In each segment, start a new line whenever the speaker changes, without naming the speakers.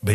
Ben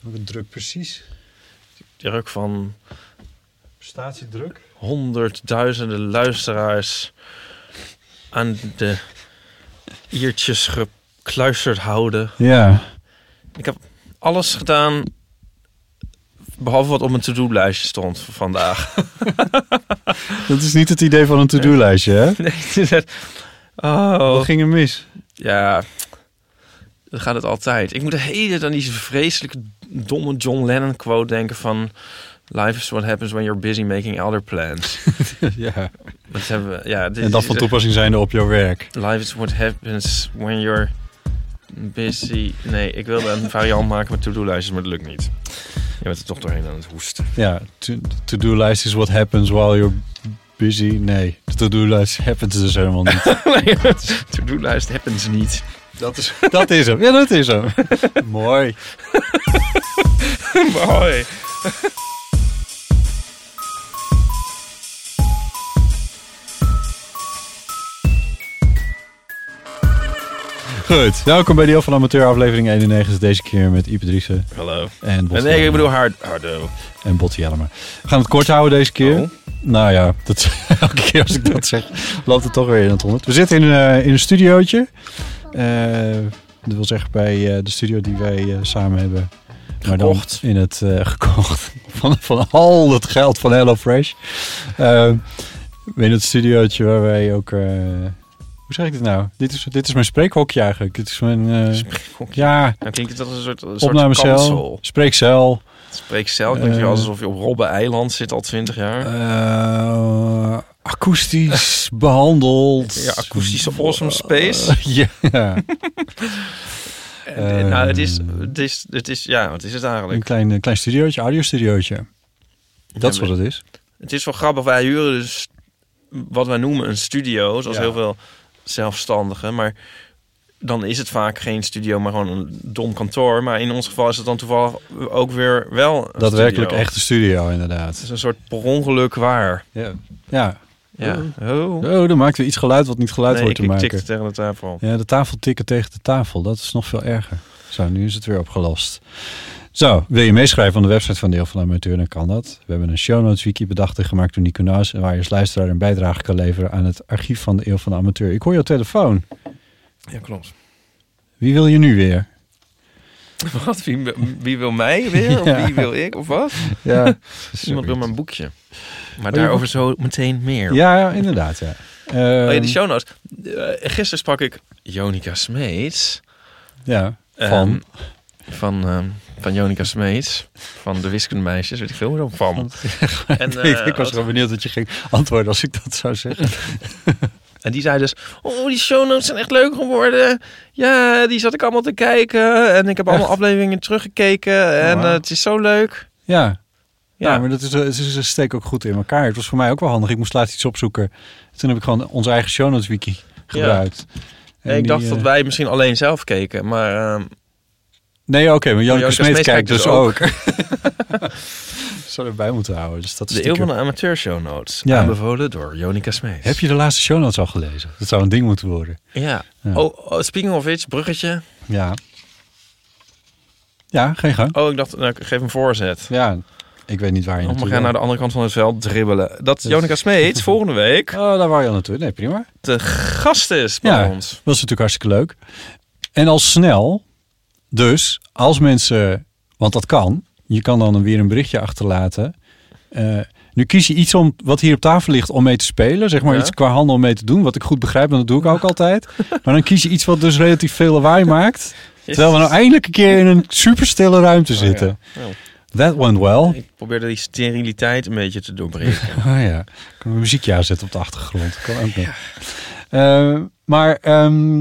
Welke druk precies?
Die druk van
Prestatiedruk?
honderdduizenden luisteraars aan de iertjes gekluisterd houden.
Ja.
Ik heb alles gedaan, behalve wat op mijn to-do-lijstje stond voor vandaag.
Dat is niet het idee van een to-do-lijstje, hè?
Nee, het is net-
Wat
oh,
ging er mis?
ja, dan gaat het altijd. Ik moet de hele tijd aan die vreselijke domme John Lennon quote denken van... Life is what happens when you're busy making other plans.
ja.
Maar dat hebben we, ja, dit
En dat
is-
van toepassing zijnde op jouw werk.
Life is what happens when you're busy. Nee, ik wilde een variant maken met to-do-lijstjes, maar dat lukt niet. Je bent er toch doorheen aan het hoesten.
Ja, to- to-do-lijst is what happens while you're busy. Nee, de to-do-lijst happens dus helemaal niet.
Nee, to-do-lijst happens niet.
dat, is, dat is hem. Ja, dat is hem. Mooi.
Mooi.
Goed, welkom bij Deel van Amateur aflevering 91. Deze keer met Ipe Driessen
Hallo.
en Botte
Nee, ik
Jellema.
bedoel hard, Nou, hardo.
En Botte Jellema. We gaan het kort houden deze keer.
Oh.
Nou ja, dat, elke keer als ik dat zeg, loopt het toch weer in het honderd. We zitten in, eh, in een studiootje. Eh, dat wil zeggen bij eh, de studio die wij eh, samen hebben. Maar dan
Gekocht.
in het eh, gekocht van, van al het geld van HelloFresh. Eh, in het studiootje waar wij ook... eh, hoe zeg ik dit nou? Dit is, dit is mijn spreekhokje eigenlijk. Dit is mijn... eh,
Spreekhokje.
ja,
Dan klinkt het als een soort, een soort
opnamecel,
kansel.
spreekcel.
Spreekcel, klinkt
Eh.
wel alsof je op Robben Eiland zit al twintig jaar.
Eh, akoestisch behandeld.
Ja, akoestische awesome space.
Ja.
Eh,
eh.
nou, het is, het, is, het is, ja, wat is het eigenlijk?
Een klein, een klein studiootje, audiostudiootje. Dat is
maar-
wat het is.
Het is wel grappig, wij huren dus wat wij noemen een studio, zoals
Ja.
heel veel zelfstandigen, maar dan is het vaak geen studio, maar gewoon een dom kantoor. Maar in ons geval is het dan toevallig ook weer wel een
Daadwerkelijk
studio.
echt een studio,
Het
inderdaad.
is een soort per ongeluk waar.
Ja. ja.
Ja. Oh.
Oh, dan maakt weer iets geluid wat niet geluid
Nee,
hoort
ik,
te
ik
maken.
tikte tegen de tafel.
Ja, de tafel tikken tegen de tafel. Dat is nog veel erger. Zo, nu is het weer opgelost. Zo, wil je meeschrijven aan de website van Deel van de Amateur, dan kan dat. We hebben een show notes wiki bedacht en gemaakt door Nico Naus... en waar je als luisteraar een bijdrage kan leveren aan het archief van de Eeuw van de Amateur. Ik hoor jouw telefoon.
Ja, klopt.
Wie wil je nu weer?
Wat? Wie, wie wil mij weer?
Ja.
Of wie wil ik? Of wat?
Ja,
Iemand wil mijn boekje. Maar
Oh, je-
daarover zo meteen meer.
ja, ja, inderdaad, ja. Ehm,
Oh ja, die show notes. Eh, gisteren sprak ik Jonica Smeets.
ja, van...
Ehm, van, ehm, van Jonica Smeets. Van de wiskundemeisjes. Weet ik veel meer dan van. En,
ik,
eh,
ik was
wat-
gewoon benieuwd dat je ging antwoorden als ik dat zou zeggen.
en die zei dus... Oh, die show notes zijn echt leuk geworden. Ja, die zat ik allemaal te kijken. En ik heb allemaal afleveringen teruggekeken. En
Wauw.
eh, het is zo leuk.
Ja, Ja,
Ja,
maar dat is, eh, het is een steek ook goed in elkaar. Het was voor mij ook wel handig. Ik moest laatst iets opzoeken. Toen heb ik gewoon onze eigen show notes wiki gebruikt. En
ik
die,
dacht
eh,
dat wij misschien alleen zelf keken. Maar ehm,
Nee, oké, maar Janneke
Janneke
Smeet,
Smeet
kijkt
kijkt
dus
dus
ook. Zou erbij moeten houden. Dus dat is
de Eeuw van de Amateur show notes.
Ja.
Aanbevolen door Jonica Smeets.
Heb je de laatste show notes al gelezen? Dat zou een ding moeten worden.
Ja.
Ja.
Oh, oh, speaking of which, bruggetje.
Ja. Ja, geen gang.
Oh, ik dacht, nou, ik geef een voorzet.
Ja, ik weet niet waar je
Om we
naartoe
gaan naar de
wil.
andere kant van het veld dribbelen. Dat
Dus-
Jonica Smeets volgende week
Oh, daar waar je al naartoe. Nee, prima.
de gast is bij
Ja, dat is
ons.
natuurlijk hartstikke leuk. En al snel, dus als mensen, want dat kan, Je kan dan weer een berichtje achterlaten. Eh, nu kies je iets om, wat hier op tafel ligt om mee te spelen. Zeg maar
Ja.
iets qua handel om mee te doen. Wat ik goed begrijp, want dat doe ik ook altijd. Maar dan kies je iets wat dus relatief veel lawaai maakt. Terwijl we nou eindelijk een keer in een superstille ruimte
Oh, ja.
zitten.
Nou,
That went well.
ik probeerde die steriliteit een beetje te doorbreken.
Ah ja, kan een muziekje aanzetten op de achtergrond. Kan ook nog. Eh, maar ehm,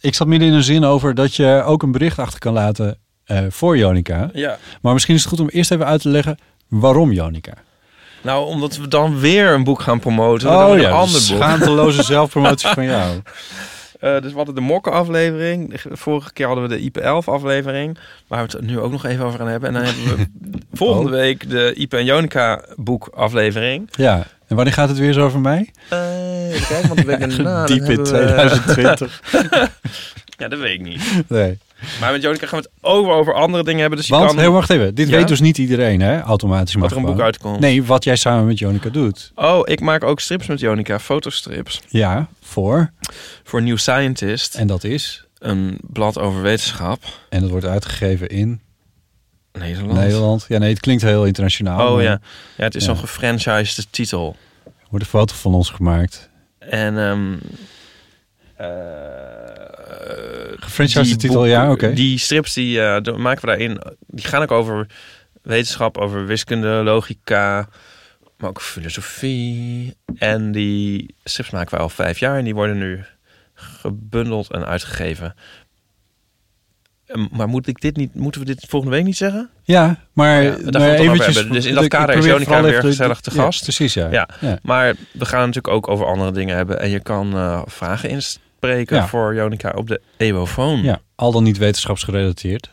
ik zat midden in een zin over dat je ook een bericht achter kan laten eh, voor Jonica.
ja.
Maar misschien is het goed om eerst even uit te leggen waarom Jonica.
Nou, omdat we dan weer een boek gaan promoten. dan
Oh
een
ja,
ander
de
boek.
schaamteloze zelfpromotie van jou.
Eh, dus we hadden de mokkenaflevering. Vorige keer hadden we de IP11-aflevering. Waar we het nu ook nog even over gaan hebben. En dan hebben we volgende
Oh.
week de IP en Jonica-boek-aflevering.
Ja, en wanneer gaat het weer zo over mij?
Eh kijk, want de week daarna...
Diep
dan
in
hebben we-
2020.
Ja, dat weet ik niet.
Nee.
Maar met Jonica gaan we het ook wel over andere dingen hebben. Dus je
Want,
kan...
heel wacht even, dit
Ja?
weet dus niet iedereen hè, automatisch. maar
Wat er een
gewoon.
boek uitkomt.
Nee, wat jij samen met Jonica doet.
Oh, ik maak ook strips met Jonica. Fotostrips.
Ja, voor.
Voor New Scientist.
En dat is.
Een blad over wetenschap.
En dat wordt uitgegeven in
Nederland.
Nederland. Ja, nee, het klinkt heel internationaal.
Oh
maar
ja. ja, het is
Ja.
zo'n gefranchised titel.
Er wordt een foto van ons gemaakt.
En ehm
Gefranchised
eh, die
titel,
boek-
ja, oké.
Die strips die eh, do- maken we daarin, die gaan ook over wetenschap, over wiskunde, logica, maar ook filosofie. En die strips maken we al vijf jaar en die worden nu gebundeld en uitgegeven. Ehm, Maar moet ik dit niet, moeten we dit volgende week niet zeggen?
Ja, maar,
Ja, daar gaan we het
maar
dan over
eventjes-
hebben. Dus in
ik-
dat
ik
kader is
probeer
Jonica
vooral
weer
even de-
gezellig te
ja,
gast.
precies, ja.
Ja.
ja.
Maar we gaan natuurlijk ook over andere dingen hebben. En je kan eh, vragen inspreken
Ja.
voor Jonica op de Ewofoon.
Ja, al dan niet wetenschapsgerelateerd.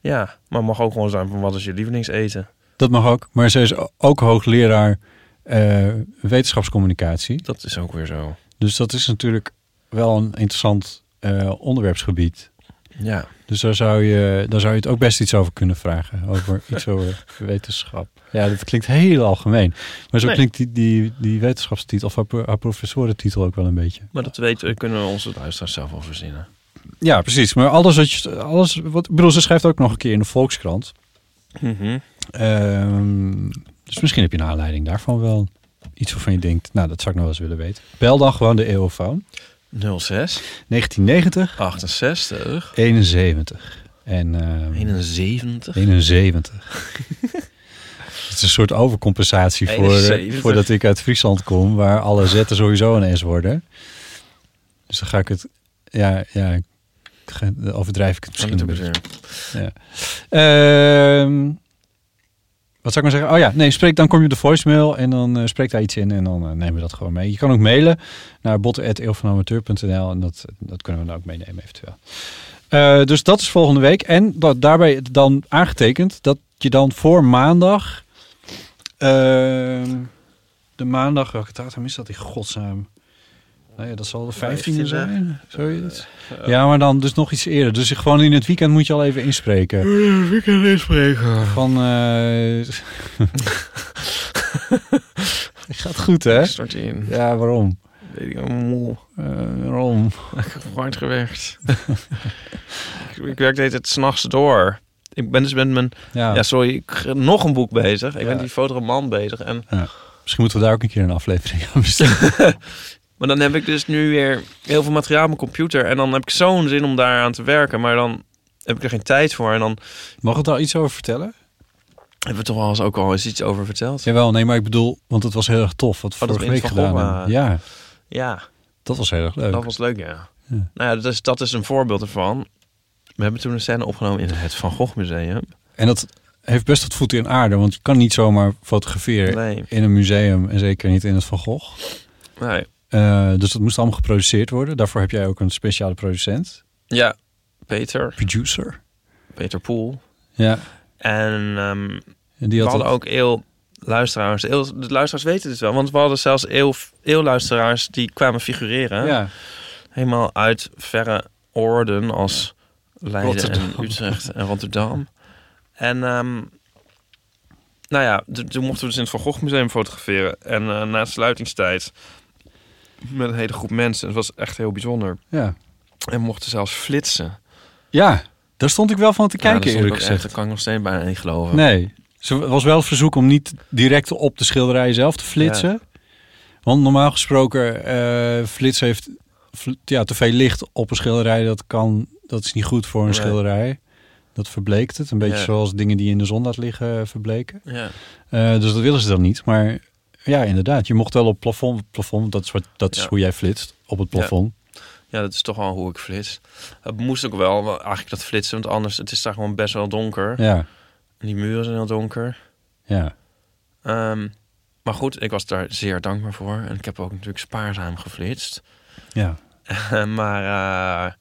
Ja, maar mag ook gewoon zijn van wat is je lievelingseten?
Dat mag ook. Maar ze is ook hoogleraar eh, wetenschapscommunicatie.
Dat is ook weer zo.
Dus dat is natuurlijk wel een interessant eh, onderwerpsgebied.
Ja.
Dus daar zou, je, daar zou je het ook best iets over kunnen vragen. Over iets over wetenschap. Ja, dat klinkt heel algemeen. Maar zo
Nee.
klinkt die, die, die wetenschapstitel of haar, pro- haar professorentitel ook wel een beetje.
Maar dat weten, kunnen we onze luisteraars zelf wel verzinnen.
Ja, precies. Maar alles wat je. Alles wat, ik bedoel, ze schrijft ook nog een keer in de Volkskrant.
Mhm.
Ehm, dus misschien heb je een aanleiding daarvan wel. Iets waarvan je denkt, nou, dat zou ik nog wel eens willen weten. Bel dan gewoon de eeuwfoon.
06,
1990,
68,
71. En ehm,
71.
71. Het is een soort overcompensatie voor, eh,
71.
voordat ik uit Friesland kom, waar alle zetten sowieso een S worden. Dus dan ga ik het, ja, ja, ik ga- dan overdrijf ik het misschien een beetje. Ehm, wat zou ik maar zeggen? Oh ja, nee, spreek, dan kom je op de voicemail en dan eh, spreekt daar iets in en dan eh, nemen we dat gewoon mee. Je kan ook mailen naar botten.eeuwvanamateur.nl en dat, dat kunnen we dan ook meenemen eventueel. Eh, dus dat is volgende week. En dat, daarbij dan aangetekend dat je dan voor maandag... ehm, de maandag, welke datum is dat in godsnaam? Nou ja, dat zal de 15e
15e.
zijn, zoiets. Ja, maar dan dus nog iets eerder. Dus gewoon in het weekend moet je al even inspreken.
Weekend inspreken.
Van. eh Gaat goed, hè?
Ik stort in.
Ja, waarom?
Weet ik allemaal moe.
Eh, waarom?
Ik heb hard gewerkt. ik, ik werk de hele tijd s'nachts door. Ik ben dus met mijn...
Ja,
Ja, sorry. Ik, ga nog een boek bezig. Ik
Ja.
ben die fotoroman bezig. En
misschien moeten we daar ook een keer een aflevering aan besteden.
Maar dan heb ik dus nu weer heel veel materiaal op mijn computer. En dan heb ik zo'n zin om daaraan te werken. Maar dan heb ik er geen tijd voor. En dan
Mogen we daar iets over vertellen?
hebben we toch wel eens ook al eens iets over verteld. Ja.
Jawel, nee, maar ik bedoel, want het was heel erg tof wat we
Oh, dat
vorige
we
week
in Van
gedaan
Gogh
hebben.
waren.
Ja, eh, dat was heel erg leuk.
dat was leuk, ja.
Ja.
Nou ja, dat is, dat is een voorbeeld ervan. We hebben toen een scène opgenomen in het Van Gogh Museum.
En dat heeft best wat voeten in aarde, want je kan niet zomaar fotograferen
Nee.
in een museum en zeker niet in het Van Gogh.
nee.
Eh, dus dat moest allemaal geproduceerd worden. Daarvoor heb jij ook een speciale producent,
Ja, Peter.
producer.
Peter Poel.
Ja,
En ehm,
en die
we
had
hadden
dat-
ook eeuw luisteraars. Eeuw, de luisteraars weten dit wel. Want we hadden zelfs eeuw, eeuw luisteraars die kwamen figureren.
Ja.
helemaal uit verre oorden als Leiden
Rotterdam.
en Utrecht en Rotterdam. En ehm, nou ja, d- toen mochten we dus in het Van Gogh Museum fotograferen. En eh, na sluitingstijd met een hele groep mensen. Het was echt heel bijzonder.
Ja.
En we mochten zelfs flitsen.
Ja. Daar stond ik wel van te
Ja,
kijken,
dat
eerlijk
is ook echt,
gezegd.
dat kan ik nog steeds bijna niet geloven.
Nee. Er was wel het verzoek om niet direct op de schilderijen zelf te flitsen. Want normaal gesproken, eh flits heeft fl- ja, te veel licht op een schilderij. Dat, kan, dat is niet goed voor een
Nee.
schilderij. Dat verbleekt het. Een beetje
Ja.
zoals dingen die in de zon laat liggen eh, verbleken.
Ja.
Eh, dus dat willen ze dan niet. Maar ja, inderdaad. Je mocht wel op plafond. plafond dat is, wat, dat is
Ja.
hoe jij flitst. Op het
Ja.
plafond.
ja, dat is toch wel hoe ik flits. Het moest ook wel, wel eigenlijk dat flitsen, want anders het is daar gewoon best wel donker.
Ja. ja.
En Die muren zijn heel donker. Ehm, maar goed, ik was daar zeer dankbaar voor. En ik heb ook natuurlijk spaarzaam geflitst.
Ja.
maar eh,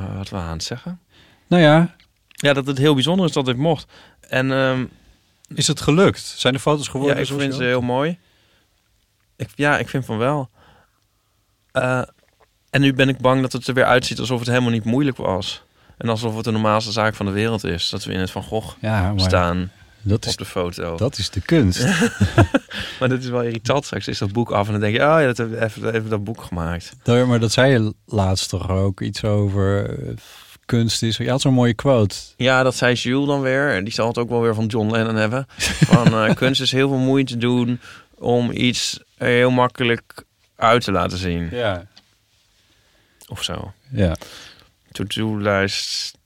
eh, wat waren we aan het zeggen?
Nou ja,
Ja, dat het heel bijzonder is dat dit mocht. En ehm,
is het gelukt? Zijn de foto's geworden?
ja, ik
zoals
vind
je
ze
wilt?
heel mooi. Ik, ja, ik vind van wel. Eh, en nu ben ik bang dat het er weer uitziet alsof het helemaal niet moeilijk was. En alsof het de normaalste zaak van de wereld is. Dat we in het Van Gogh
Ja, maar
staan
dat
op
is,
de foto.
dat is de kunst.
Maar dat is wel irritant. Straks is dat boek af en dan denk je... Oh ja, dat hebben we even, even dat boek gemaakt.
Nou ja, maar dat zei je laatst toch ook iets over eh, kunst is. Je had zo'n mooie quote.
Ja, dat zei Jules dan weer. En die zal het ook wel weer van John Lennon hebben. Van eh, kunst is heel veel moeite doen om iets heel makkelijk uit te laten zien.
Ja.
Of zo.
Ja.
to-do-lijst.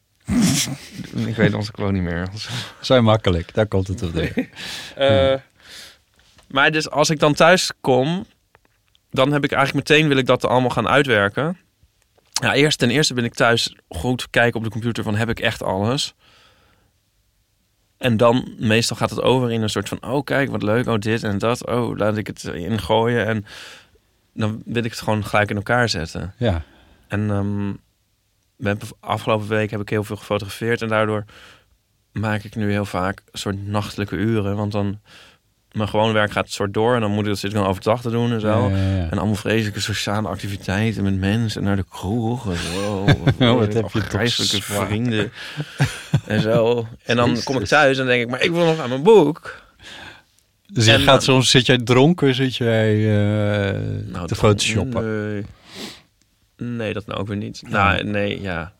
ik weet onze quote niet meer.
Zijn makkelijk. Daar komt het op neer. Ja.
Eh, Maar dus als ik dan thuis kom, dan heb ik eigenlijk meteen wil ik dat allemaal gaan uitwerken. Ja, eerst, ten eerste ben ik thuis goed kijken op de computer van heb ik echt alles. En dan meestal gaat het over in een soort van oh kijk wat leuk, oh dit en dat, oh laat ik het ingooien en dan wil ik het gewoon gelijk in elkaar zetten.
Ja.
En ehm, we hebben- afgelopen week heb ik heel veel gefotografeerd. En daardoor maak ik nu heel vaak een soort nachtelijke uren. Want dan mijn gewoon werk gaat soort door. En dan moet ik dat zit ik dan overdag te doen en zo.
Ja, ja, ja.
En allemaal vreselijke sociale activiteiten met mensen. En naar de kroeg. En zo. Oh,
wat heb je toch
Afgrijzelijke
zwaar.
vrienden. en zo. En dan kom ik
Jezus.
thuis en denk ik, maar ik wil nog aan mijn boek.
Dus je
en-
gaat soms, zit jij dronken, zit jij eh
Nou,
te
dan-
photoshoppen.
Nee. nee, dat nou ook weer niet. Nou, nee, ja.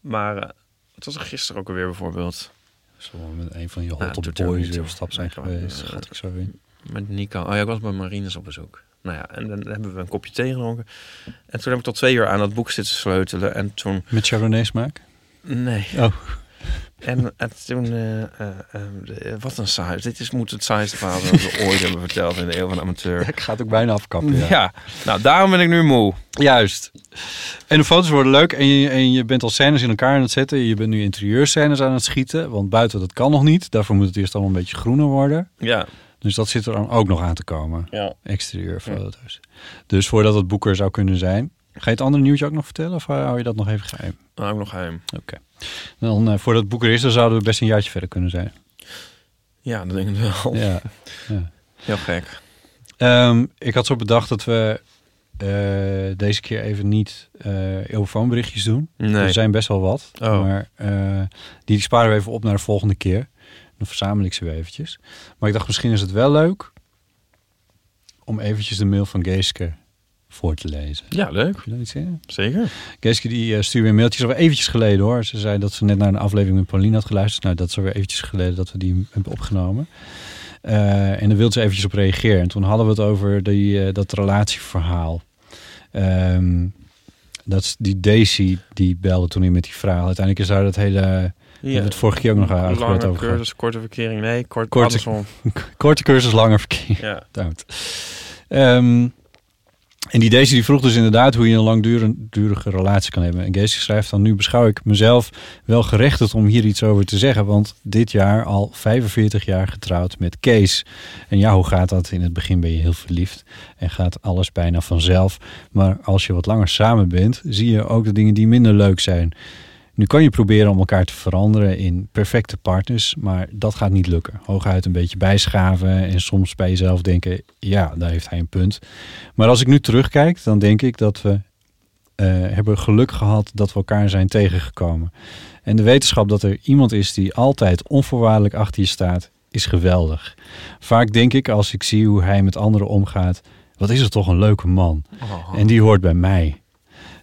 Maar eh, wat was er gisteren ook alweer bijvoorbeeld?
Zullen we met een van je
Nou,
hot
doet er
boys
niet
weer op
toe.
stap zijn
Nee,
geweest.
eh,
Schat ik zo in.
Met Nico. Oh ja, ik was bij Marines op bezoek. Nou ja, en dan hebben we een kopje thee gedronken. En toen heb ik tot twee uur aan dat boek zitten sleutelen. En toen...
Met Chardonnay smaak?
Nee.
Oh.
En, en toen... eh, eh, eh, de- wat een saai. Dit is, moet het saaiste verhaal zijn dat we ooit hebben verteld in de Eeuw van de Amateur.
Ik ga het ook bijna afkappen. Ja.
ja. Nou, daarom ben ik nu moe.
Juist. En de foto's worden leuk en je, en je bent al scènes in elkaar aan het zetten. Je bent nu interieurscènes aan het schieten, want buiten dat kan nog niet. Daarvoor moet het eerst allemaal een beetje groener worden.
Ja.
Dus dat zit er dan ook nog aan te komen.
Ja.
Exterieurfoto's. Dus voordat het boek er zou kunnen zijn. Ga je het andere nieuwtje ook nog vertellen of eh, hou je dat nog even geheim?
Nou, ook nog heim.
Dan, eh, voordat het boek er is, dan zouden we best een jaartje verder kunnen zijn.
Ja, dat denk ik wel.
Ja.
Heel gek.
Ehm, ik had zo bedacht dat we eh, deze keer even niet eh eeuwfoonberichtjes doen.
Nee.
Er zijn best wel wat.
Oh.
Maar eh, die sparen we even op naar de volgende keer. Dan verzamel ik ze weer eventjes. Maar ik dacht, misschien is het wel leuk om eventjes de mail van Geeske voor te lezen.
Ja, leuk.
Heb je daar iets in?
Zeker.
Geeske die eh, stuurde weer mailtjes alweer eventjes geleden hoor. Ze zei dat ze net naar een aflevering met Pauline had geluisterd. Nou, dat is alweer eventjes geleden dat we die hebben opgenomen. Eh, en daar wilde ze eventjes op reageren. En toen hadden we het over die, eh, dat relatieverhaal. Ehm, dat is die Daisy die belde toen in met die verhaal. Uiteindelijk is daar dat hele... We hebben het vorige keer ook nog eh, uitgebreid
Lange
over gehad.
cursus, korte verkering. Nee, kort,
Korte-
andersom.
Korte cursus, langer verkeer.
Ja.
Duimt. Ehm, en die deze die vroeg dus inderdaad hoe je een langdurige relatie kan hebben. En Geesje schrijft dan, nu beschouw ik mezelf wel gerechtigd om hier iets over te zeggen. Want dit jaar al 45 jaar getrouwd met Kees. En ja, hoe gaat dat? In het begin ben je heel verliefd en gaat alles bijna vanzelf. Maar als je wat langer samen bent, zie je ook de dingen die minder leuk zijn. Nu kan je proberen om elkaar te veranderen in perfecte partners, maar dat gaat niet lukken. Hooguit een beetje bijschaven en soms bij jezelf denken, ja, daar heeft hij een punt. Maar als ik nu terugkijk, dan denk ik dat we eh, hebben geluk gehad dat we elkaar zijn tegengekomen. En de wetenschap dat er iemand is die altijd onvoorwaardelijk achter je staat, is geweldig. Vaak denk ik als ik zie hoe hij met anderen omgaat, wat is het toch een leuke Oh, man. En die hoort bij mij.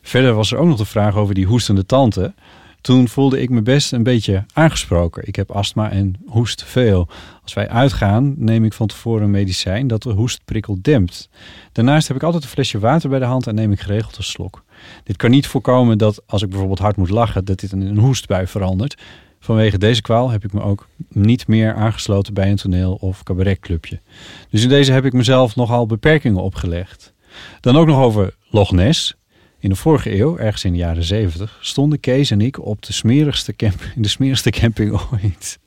Verder was er ook nog de vraag over die hoestende tante. Toen voelde ik me best een beetje aangesproken. Ik heb astma en hoest veel. Als wij uitgaan, neem ik van tevoren een medicijn dat de hoestprikkel dempt. Daarnaast heb ik altijd een flesje water bij de hand en neem ik geregeld een slok. Dit kan niet voorkomen dat als ik bijvoorbeeld hard moet lachen, dat dit in een hoestbui verandert. Vanwege deze kwaal heb ik me ook niet meer aangesloten bij een toneel- of cabaretclubje. Dus in deze heb ik mezelf nogal beperkingen opgelegd. Dan ook nog over Loch Ness. In de vorige eeuw, ergens in de jaren 70, stonden Kees en ik op de smerigste, camp in de smerigste camping ooit.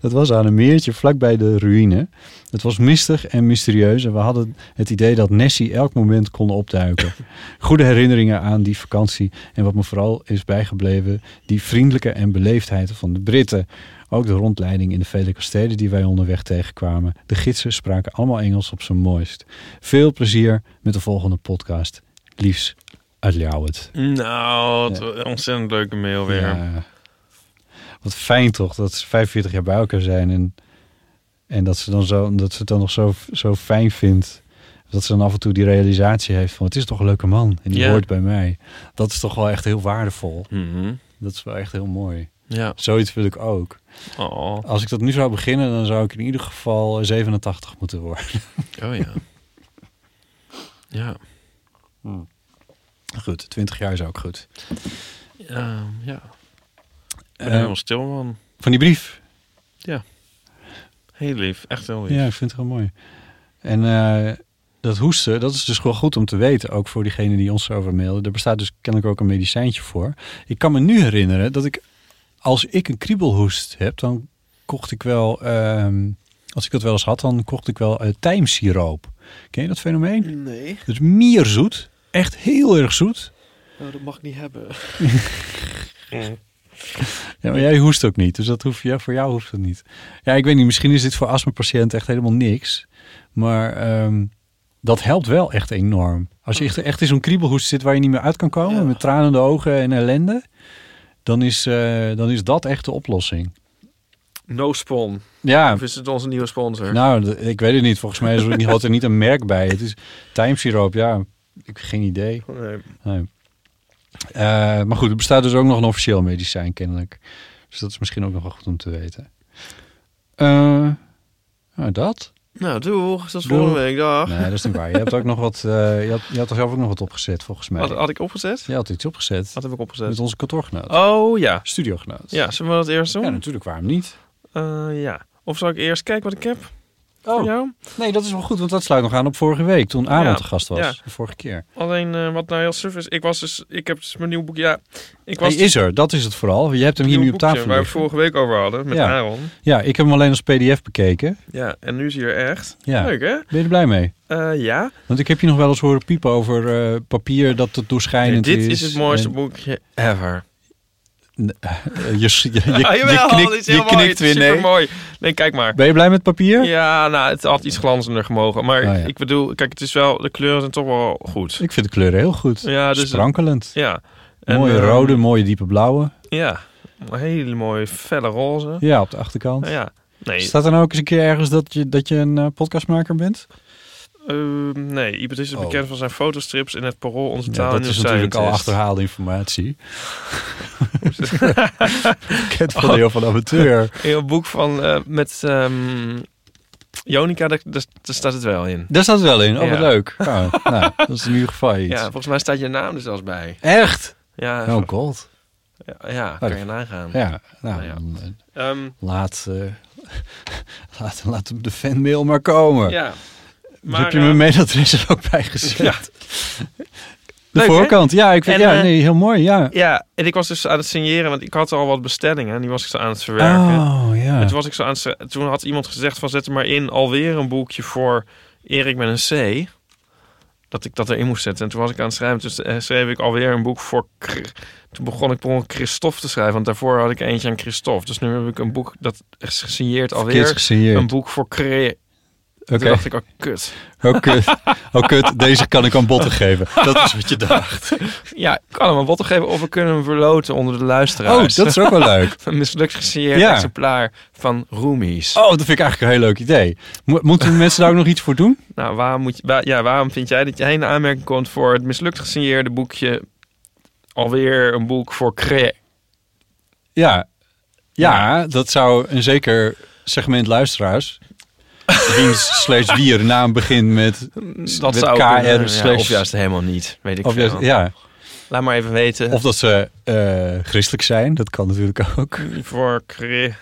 Dat was aan een meertje vlakbij de ruïne. Het was mistig en mysterieus en we hadden het idee dat Nessie elk moment kon opduiken. Goede herinneringen aan die vakantie en wat me vooral is bijgebleven, die vriendelijke en beleefdheid van de Britten. Ook de rondleiding in de vele kastelen die wij onderweg tegenkwamen. De gidsen spraken allemaal Engels op zijn mooist. Veel plezier met de volgende podcast. Liefs uit Ljouwert.
Nou, wat een ontzettend leuke mail weer.
Ja. Wat fijn toch, dat ze 45 jaar bij elkaar zijn. En, en dat, ze dan zo, dat ze het dan nog zo, zo fijn vindt. Dat ze dan af en toe die realisatie heeft van... het is toch een leuke man en die
Ja.
hoort bij mij. Dat is toch wel echt heel waardevol.
Mhm.
Dat is wel echt heel mooi.
Ja.
Zoiets wil ik ook.
Oh. oh
Als ik dat nu zou beginnen, dan zou ik in ieder geval eh, 87 moeten worden.
Oh, ja. ja.
Goed, 20 jaar is ook goed.
Ja. Ja. Ik ben
Eh,
helemaal stil, man.
van die brief.
Heel lief. Echt heel lief.
Ja, ik vind het heel mooi. En eh, dat hoesten, dat is dus wel goed om te weten. Ook voor diegenen die ons over mailen. Er bestaat dus kennelijk ook een medicijntje voor. Ik kan me nu herinneren dat ik, als ik een kriebelhoest heb, dan kocht ik wel, ehm, als ik dat wel eens had, dan kocht ik wel eh tijmsiroop. Ken je dat fenomeen?
Nee,
Dat is mierzoet. Dus Echt heel erg zoet.
nou, dat mag ik niet hebben.
Ja, maar jij hoest ook niet, dus dat hoef, ja, voor jou hoeft het niet. Ja, ik weet niet, misschien is dit voor astmapatiënten echt helemaal niks. Maar ehm, dat helpt wel echt enorm. Als je echt, echt in zo'n kriebelhoest zit waar je niet meer uit kan komen...
Oh. Ja.
met tranende ogen en ellende... Dan is, eh, dan is dat echt de oplossing.
No Spawn.
Ja,
Of is het onze nieuwe sponsor?
nou, d- ik weet het niet. Volgens mij is er, niet- had er niet een merk bij. Het is tijmsiroop, ja. Ik heb geen idee.
Nee.
Nee. Eh, maar goed, er bestaat dus ook nog een officieel medicijn kennelijk. Dus dat is misschien ook nog wel goed om te weten. Eh, nou, dat?
Nou, doeg. Tot
Doeg.
volgende week. Dag.
Nee, dat is niet waar. Je hebt ook nog wat. eh, je, had, je had er zelf ook nog wat opgezet, volgens mij.
Wat-
Had, had ik opgezet?
Je had iets opgezet
Wat heb ik opgezet?
met onze kantoorgenoot,
Oh ja.
studiogenoot.
Ja, zullen we dat eerst
Ja,
doen?
natuurlijk, waarom niet?
Ja. ja. Of zal ik eerst kijken wat ik heb
Oh.
voor jou?
nee, dat is wel goed, want dat sluit nog aan op vorige week toen Aaron
Oh. Ja,
te gast was.
ja.
De vorige keer.
Alleen eh, wat nou heel suf is. Ik was dus. Ik heb dus mijn nieuw boek. Ja. Ik was.
Hij is er, dat is het vooral. Je hebt hem
een
hier
nieuw
nu op
boekje
tafel.
Waar we
liggen.
vorige week over hadden. Met
Ja.
Aaron.
Ja, ik heb hem alleen als PDF bekeken.
Ja. En nu is hij er echt.
Ja.
Leuk hè?
Ben je er blij mee?
Eh, ja.
Want ik heb je nog wel eens horen piepen over eh, papier dat het doorschijnend
dit
is.
is, het mooiste
En,
boekje ever.
eh, je, je, je,
Ah,
je
jawel, dit
knikt,
is heel
je
mooi.
knikt
Het is
weer nee.
supermooi. Nee, kijk maar.
Ben je blij met papier?
Ja, nou, het had iets glanzender gemogen. Maar
Ah, ja.
ik bedoel, kijk, het is wel, de kleuren zijn toch wel goed.
Ik vind de kleuren heel goed.
Ja, dus...
Sprankelend.
Ja. En,
mooie
eh,
rode, mooie diepe blauwe.
Ja. Een hele mooie felle roze.
Ja, op de achterkant.
Nou ja. Nee,
Staat er nou ook eens een keer ergens dat je, dat je een eh, podcastmaker bent?
eh, nee, Ibert is
Oh.
bekend van zijn fotostrips in het Parool Onze Taal
Ja,
en
dat
Nieuw
is natuurlijk al
Scientist.
achterhaalde informatie. Kent van heel van amateur.
In een boek van, eh, met ehm Jonica, daar, daar daar staat het wel in.
Daar staat het wel in. Oh, wat
Ja.
leuk. Nou, nou, dat is in ieder geval iets.
Ja, volgens mij staat je naam er zelfs bij.
Echt?
Ja,
Oh god.
ja, ja kan je nagaan.
Ja, nou,
Nou ja.
dan, eh,
Ehm,
Laat, eh, laat, laat hem de fanmail maar komen.
ja.
Dus
maar,
heb je
eh,
mijn mailadres er ook bij gezet?
Ja.
De
Leuk, hè?
voorkant, ja, ik vind,
En,
ja,
eh,
nee, heel mooi, ja.
Ja, en ik was dus aan het signeren, want ik had al wat bestellingen en die was ik zo aan het verwerken.
Oh, ja.
En toen, was ik zo aan het, ze- toen had iemand gezegd van zet er maar in alweer een boekje voor Erik met een C. Dat ik dat erin moest zetten. En toen was ik aan het schrijven, dus eh, schreef ik alweer een boek voor... Kr- Toen begon ik per ongeluk Christophe te schrijven, want daarvoor had ik eentje aan Christophe. Dus nu heb ik een boek dat is gesigneerd
Verkeerd
alweer... Een
gesigneerd.
boek voor creë.
Oké,
Toen dacht ik, oh kut.
oh, kut. Oh, kut. Deze kan ik aan botten geven. Dat is wat je dacht.
Ja, ik kan hem een bottle geven of we kunnen hem verloten onder de
Oh,
luisteraars.
dat is ook wel leuk.
Een mislukt gesigneerd
Ja.
exemplaar van Roomies.
Oh, dat vind ik eigenlijk een heel leuk idee. Mo- moeten mensen daar ook nog iets voor doen?
Nou, waarom, moet je, wa- ja, waarom vind jij dat jij in aanmerking komt voor het mislukt gesigneerde boekje? Alweer een boek voor Cre.
Ja, ja dat zou een zeker segment luisteraars... wiens slash wie er naam begint met,
Dat
met
zou
KR
kunnen, ja,
slash...
Of juist helemaal niet, weet ik
of
veel.
juist- ja,
Laat maar even weten.
of dat ze eh, christelijk zijn. Dat kan natuurlijk ook.
Voor Kri-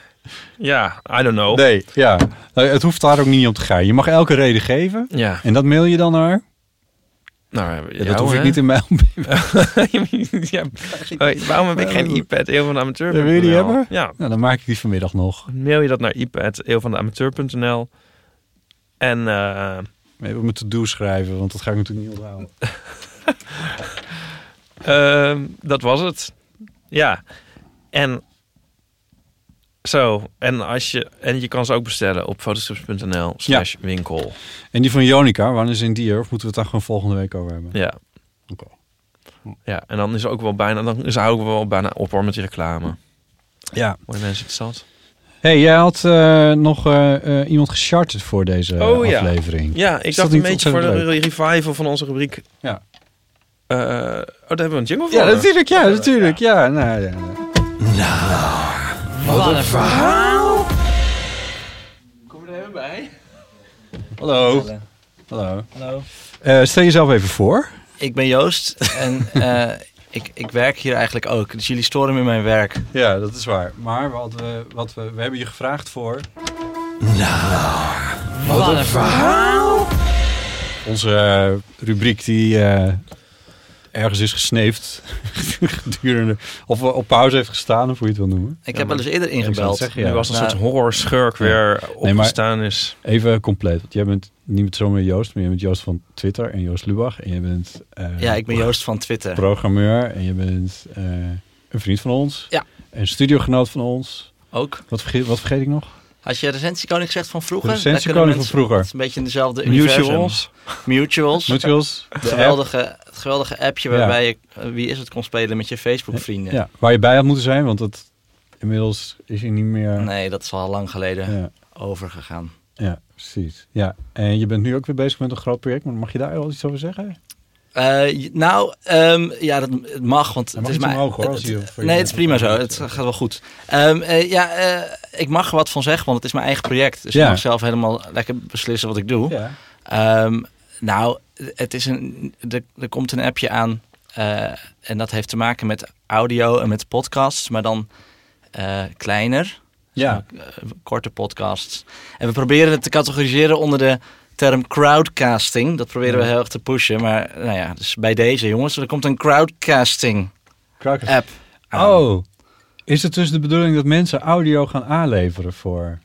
Ja, I don't know.
Nee, ja. Nou, Het hoeft daar ook niet om te gaan. Je mag elke reden geven.
Ja,
En dat mail je dan naar?
nou,
Ja,
jou,
dat hoef
hè?
ik niet in mijn
ja. Hoi, waarom heb ik geen iPad Eeuw van de Amateur?
Wil je die hebben?
Ja.
Nou, dan maak ik die vanmiddag nog.
Mail je dat naar iPad Eeuw van de Amateur.nl. En eh,
Even op mijn to-do schrijven, want dat ga ik natuurlijk niet onthouden.
ehm, dat was het. Ja. En zo. En, als je, en je kan ze ook bestellen op fotostrips.nl slash winkel.
En die van Jonica, wanneer is in die er? Of moeten we het daar gewoon volgende week over hebben?
Ja.
Oké.
Ja, en dan is er ook wel bijna, dan is houden we wel bijna op hoor met die reclame.
Ja.
Worden mensen het zat?
hey, jij had eh, nog eh, eh, iemand gecharterd voor deze
Oh, ja.
aflevering.
Ja, ik dacht
Is dat
een
niet
beetje voor de
ontzettend
revival van onze rubriek.
Ja.
Eh, oh, daar hebben we een jingle voor.
Ja, natuurlijk, ja, natuurlijk. Ja, nou, ja.
Kom er even bij.
Hallo. Hallo. Eh, stel jezelf even voor.
Ik ben Joost en eh, ik, ik werk hier eigenlijk ook. Dus jullie storen me in mijn werk.
Ja, dat is waar. Maar wat we, wat we, we hebben je gevraagd voor...
Nou, Wat een verhaal!
Onze eh, rubriek die eh, ergens is gesneefd gedurende... Of op pauze heeft gestaan, of hoe je het wil noemen.
Ik heb wel eens dus eerder
zou het
ingebeld.
zeggen,
Nu
Ja.
was een
Nou,
soort horror schurk weer
maar-
opgestaan is.
Even compleet, want jij bent niet zomaar Joost, maar je bent Joost van Twitter en Joost Lubach. En je bent eh,
Ja, ik ben Joost van Twitter.
programmeur en je bent eh, een vriend van ons.
Ja.
Een studiogenoot van ons.
Ook.
Wat vergeet, wat vergeet ik nog?
Had je recensiekoning zegt van vroeger?
Recensiekoning
Daar kunnen
van
mensen-
vroeger.
Het is een beetje in dezelfde universum.
Mutuals.
Mutuals.
Mutuals. de
Het geweldige, het geweldige appje
Ja.
waarbij je eh, Wie is het kon spelen met je Facebook
app.
vrienden.
Ja, waar je bij had moeten zijn, want dat, inmiddels is hij niet meer...
Nee, dat is al lang geleden
Ja,
overgegaan.
ja, precies. Ja, en je bent nu ook weer bezig met een groot project, maar mag je daar al iets over zeggen?
Eh, j- nou, ehm, ja, dat het mag, want
Hij
het
mag
is
iets
maar.
omhoog, hoor,
het-
als je- voor je-
nee, het is prima zo. Het gaat wel goed. Ehm, eh, ja, eh, ik mag er wat van zeggen, want het is mijn eigen project. Dus
Ja.
ik mag zelf helemaal lekker beslissen wat ik doe.
Ja.
Ehm, nou, het is een, er, er komt een appje aan eh, en dat heeft te maken met audio en met podcasts, maar dan eh, kleiner,
Ja.
eh, korte podcasts. En we proberen het te categoriseren onder de term crowdcasting. Dat proberen we heel erg te pushen, maar nou ja, dus bij deze jongens, er komt een crowdcasting
Krakers.
app. aan.
Oh, is het dus de bedoeling dat mensen audio gaan aanleveren voor...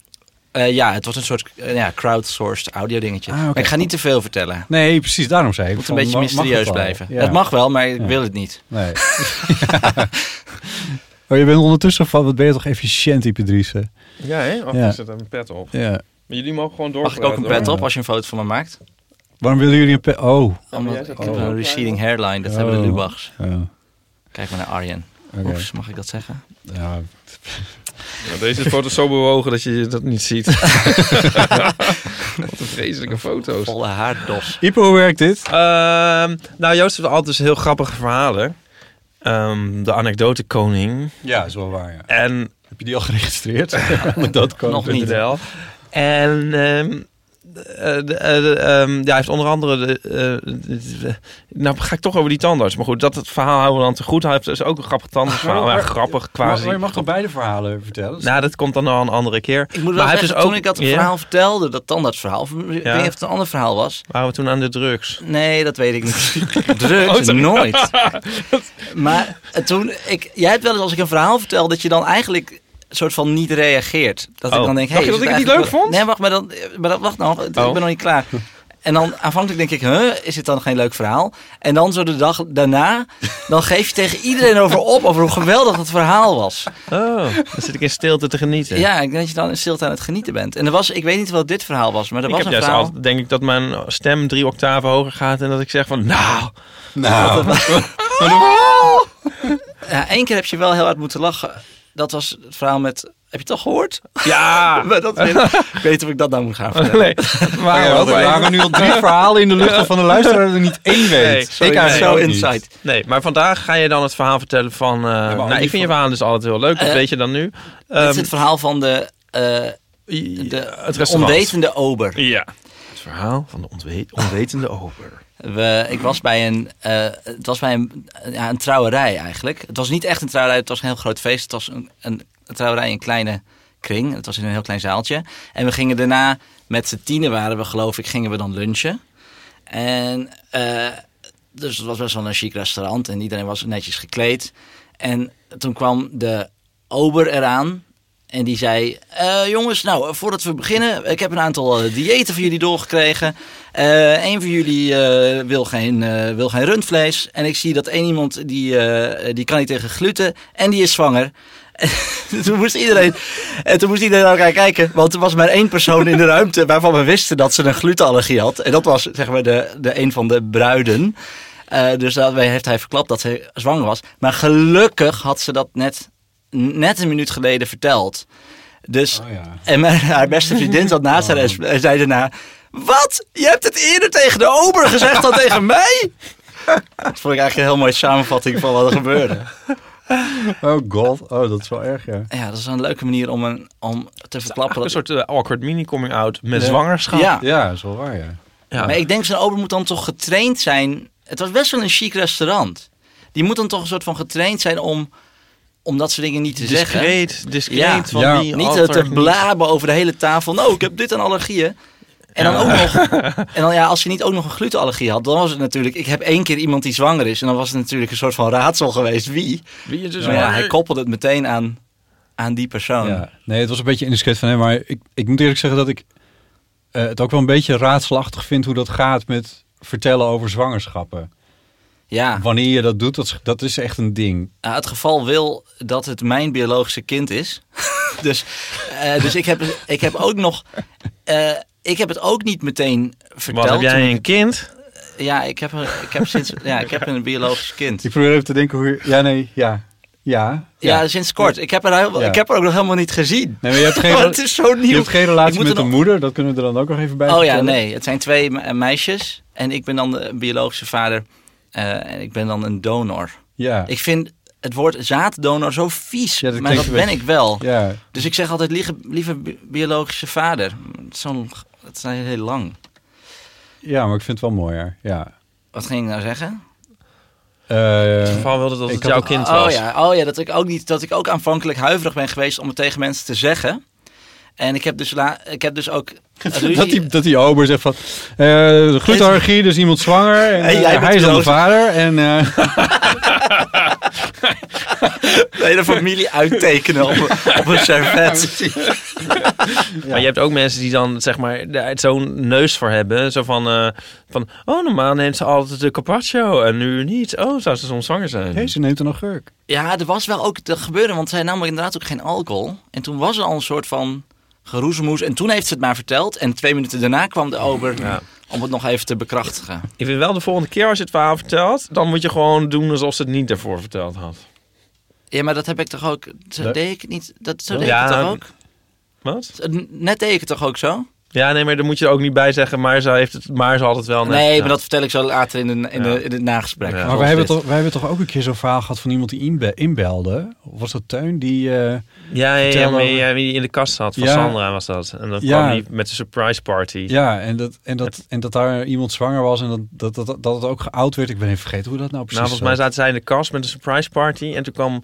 Eh, ja, het was een soort eh, ja, crowdsourced audio dingetje.
Ah, oké.
Maar ik ga niet te veel vertellen. Het
Nee, precies, daarom zei ik.
moet
van,
een beetje
ma- mag
mysterieus
het wel?
blijven.
Ja.
Het mag wel, maar ik
Ja.
wil het niet.
Nee. Oh, je bent ondertussen van, wat ben je toch efficiënt, Ipedrice?
Ja, hè?
Ja.
ja. ik zet even een pet op.
Ja.
Maar jullie mogen gewoon door.
Mag ik ook een pet op als je een foto van me maakt?
Waarom willen jullie een pe- Oh.
Omdat
jij zegt
ik
dat
heb
wel.
een receding hairline, dat hebben de
Oh.
Lubachs.
Ja,
Kijk maar naar Arjen.
oké. Dus
Oeps, mag ik dat zeggen?
Ja,
deze foto is zo bewogen dat je dat niet ziet. Wat een vreselijke foto's.
Volle haardos.
Ipe, hoe werkt dit?
Ehm, nou, Joost heeft altijd dus heel grappige verhalen. Ehm, de anekdotekoning.
Ja, is wel waar, ja.
En
Heb je die al geregistreerd? Moet dat komen.
Nog niet.
wel. En ehm, eh, de- eh, de, ehm, ja, hij heeft onder andere... De, eh, de- de- nou, ga ik toch over die tandarts. Maar goed, dat het verhaal houden we dan te goed. Hij heeft dus ook een grappig tandartsverhaal.
Maar-
Ja, grappig,
Maar,
quasi.
maar je mag toch beide verhalen vertellen?
Nou, dat komt dan al een andere keer.
Ik moet
Maar
wel
hij
zeggen,
heeft dus
toen
ook-
ik dat
Ja?
verhaal vertelde, dat tandartsverhaal, of ik weet niet of het een ander verhaal was.
Waren we toen aan de drugs?
Nee, dat weet ik niet.
Oh,
Drugs, nooit. maar eh, toen, ik, jij hebt wel eens als ik een verhaal vertel, dat je dan eigenlijk soort van niet reageert. Dat ik
Oh.
dan denk,
Dacht
hey,
je
is
dat
het
ik het niet
eigenlijk
leuk
wel-
vond?
Nee, wacht, maar dan, eh, maar dan, wacht nog, het-
Oh.
ik ben nog niet klaar. En dan aanvankelijk denk ik, huh, is dit dan geen leuk verhaal? En dan zo de dag daarna, dan geef je tegen iedereen over op, over hoe geweldig het verhaal was.
Oh, dan zit ik in stilte te genieten.
Ja, ik denk dat je dan in stilte aan het genieten bent. En er was, ik weet niet wat dit verhaal was, maar er
Ik
was
heb
een
juist
verhaal.
altijd, denk ik, dat mijn stem drie octaven hoger gaat en dat ik zeg van, nou,
Nou,
Ja, één keer heb je wel heel hard moeten lachen. dat was het verhaal met... Heb je het al gehoord?
Ja!
Maar dat vind ik- ik weet of ik dat nou moet gaan vertellen.
Nee.
Maar
ook
we
even.
waren nu al drie verhalen in de lucht waarvan de luisteraar er niet één weet.
sorry,
ik eigenlijk
nee.
Zo
ook niet.
insight.
Nee, maar vandaag ga je dan het verhaal vertellen van... eh, nou, ik
die
vind je
van-
verhaal dus altijd heel leuk. Dat
Eh,
weet je dan nu.
Dit
Ehm,
is het verhaal van de, eh, de
het restaurant.
onwetende ober.
Ja. Het verhaal van de ontwe- onwetende ober.
We, ik was bij een, eh, het was bij een, ja, een trouwerij eigenlijk. Het was niet echt een trouwerij, het was een heel groot feest. Het was een, een, een trouwerij in een kleine kring. Het was in een heel klein zaaltje. En we gingen daarna, met z'n tienen waren we geloof ik, gingen we dan lunchen. En eh, dus het was best wel een chic restaurant en iedereen was netjes gekleed. En toen kwam de ober eraan en die zei... "Eh, jongens, nou, eh, voordat we beginnen... Ik heb een aantal eh, diëten van jullie doorgekregen. Eh Eén van jullie eh, wil, geen, eh, wil geen rundvlees. En ik zie dat één iemand, die, eh, eh, die kan niet tegen gluten. En die is zwanger. En toen moest iedereen, en toen moest iedereen naar elkaar kijken. Want er was maar één persoon in de ruimte waarvan we wisten dat ze een glutenallergie had. En dat was zeg maar de, de een van de bruiden. Eh, dus daarbij heeft hij verklapt dat ze zwanger was. Maar gelukkig had ze dat net, net een minuut geleden verteld. Dus
Oh ja.
en mijn- haar beste vriendin zat naast haar en s- en zei daarna... Wat? Je hebt het eerder tegen de ober gezegd dan tegen mij? Dat vond ik eigenlijk een heel mooie samenvatting van wat er gebeurde.
Oh god, oh dat is wel erg ja.
Ja, dat is een leuke manier om, een, om te verklappen.
Een
Dat...
soort eh, awkward mini-coming-out met
Ja.
zwangerschap.
Ja.
Ja, dat is wel waar ja.
Ja.
maar ik denk zo'n ober moet dan toch getraind zijn. Het was best wel een chic restaurant. Die moet dan toch een soort van getraind zijn om, om dat soort dingen niet te zeggen.
discreet, discreet.
Ja.
Van
Ja.
die
Niet
alter-
te, te blaben over de hele tafel. Nou, ik heb dit aan allergieën. En dan ook nog. En dan ja, als je niet ook nog een glutenallergie had, dan was het natuurlijk. Ik heb één keer iemand die zwanger is. En dan was het natuurlijk een soort van raadsel geweest wie.
Wie je dus
Maar ja, hij koppelde het meteen aan, aan die persoon.
Ja. Nee, het was een beetje indiscreet van hem, maar ik, ik moet eerlijk zeggen dat ik eh, het ook wel een beetje raadselachtig vind hoe dat gaat met vertellen over zwangerschappen.
ja.
Wanneer je dat doet, dat is, dat is echt een ding.
Nou, het geval wil dat het mijn biologische kind is. dus eh, dus ik, heb, ik heb ook nog. eh, ik heb het ook niet meteen verteld.
Wat heb jij
toen
een kind?
ik- Ja, ik heb, een- ik heb sinds. Ja, ik heb een biologisch kind.
Ik probeer even te denken hoe je... Ja, nee, ja. Ja.
Ja, sinds kort. Ik heb, er heel,
Ja.
ik heb er ook nog helemaal niet gezien.
Nee, maar je hebt geen,
Want het is zo
je
nieuw.
hebt geen relatie
Ik moet
met
er
de
nog-
moeder, dat kunnen we er dan ook nog even bij
Oh ja,
vertellen.
nee. Het zijn twee me- eh, meisjes. En ik ben dan de biologische vader. eh, en ik ben dan een donor.
Ja.
Ik vind het woord zaaddonor zo vies.
Ja, dat
maar
klinkt
dat
een
ben ik wel.
ja.
Dus ik zeg altijd lieve, lieve bi- biologische vader. Het is Zo'n, het is nou heel lang.
ja, maar ik vind het wel mooier. Ja.
Wat ging ik nou zeggen?
In ieder
Eh
geval wilde dat
Ik
het
had
jouw
ook-
kind
oh,
was.
ja, oh ja, dat ik ook niet, dat ik ook aanvankelijk huiverig ben geweest om het tegen mensen te zeggen. En ik heb dus, la, ik heb dus ook. ruzie-
dat, die, dat die ober zegt van... eh de glutenallergie, dus iemand zwanger. En,
Hey,
eh,
jij bent
hij is dan de
roze.
vader. En, eh,
de hele familie uittekenen op, een- op een servet.
Maar je hebt ook mensen die dan zeg maar daar zo'n neus voor hebben. Zo van, eh, van, oh normaal neemt ze altijd de carpaccio en nu niet. Oh, zou ze soms zwanger zijn?
hey, ze neemt een augurk.
Ja, er was wel ook dat gebeuren, want zij nam inderdaad ook geen alcohol. En toen was er al een soort van geroezemoes. En toen heeft ze het maar verteld. En twee minuten daarna kwam de ober
Ja.
om het nog even te bekrachtigen.
Ik vind wel de volgende keer als je het verhaal vertelt, dan moet je gewoon doen alsof ze het niet daarvoor verteld had.
Ja, maar dat heb ik toch ook. Zo
Nee.
deed ik het niet. Dat, zo
Ja.
deed ik het
Ja.
toch ook.
Wat?
Zo- Net deed ik het toch ook zo?
Ja, nee, maar daar moet je er ook niet bij zeggen, maar ze, heeft het, maar ze had het wel net.
Nee,
Ja.
maar dat vertel ik zo later in, de, in,
Ja.
de, in het nagesprek.
Ja.
Maar
Zoals
wij hebben,
dit.
toch, wij hebben toch ook een keer zo'n verhaal gehad van iemand die inbe- inbelde. Of was dat Teun? Die, eh,
Ja, ja, ja,
Vertel
maar
over-
ja, wie in de kast zat. Van
Ja.
Sandra was dat. En dan
Ja.
kwam hij met een surprise party.
ja, en dat, en, dat, en dat daar iemand zwanger was en dat, dat, dat, dat het ook geout werd. Ik ben even vergeten hoe dat nou precies
nou, volgens mij
zat.
zaten zij in de kast met een surprise party. En toen kwam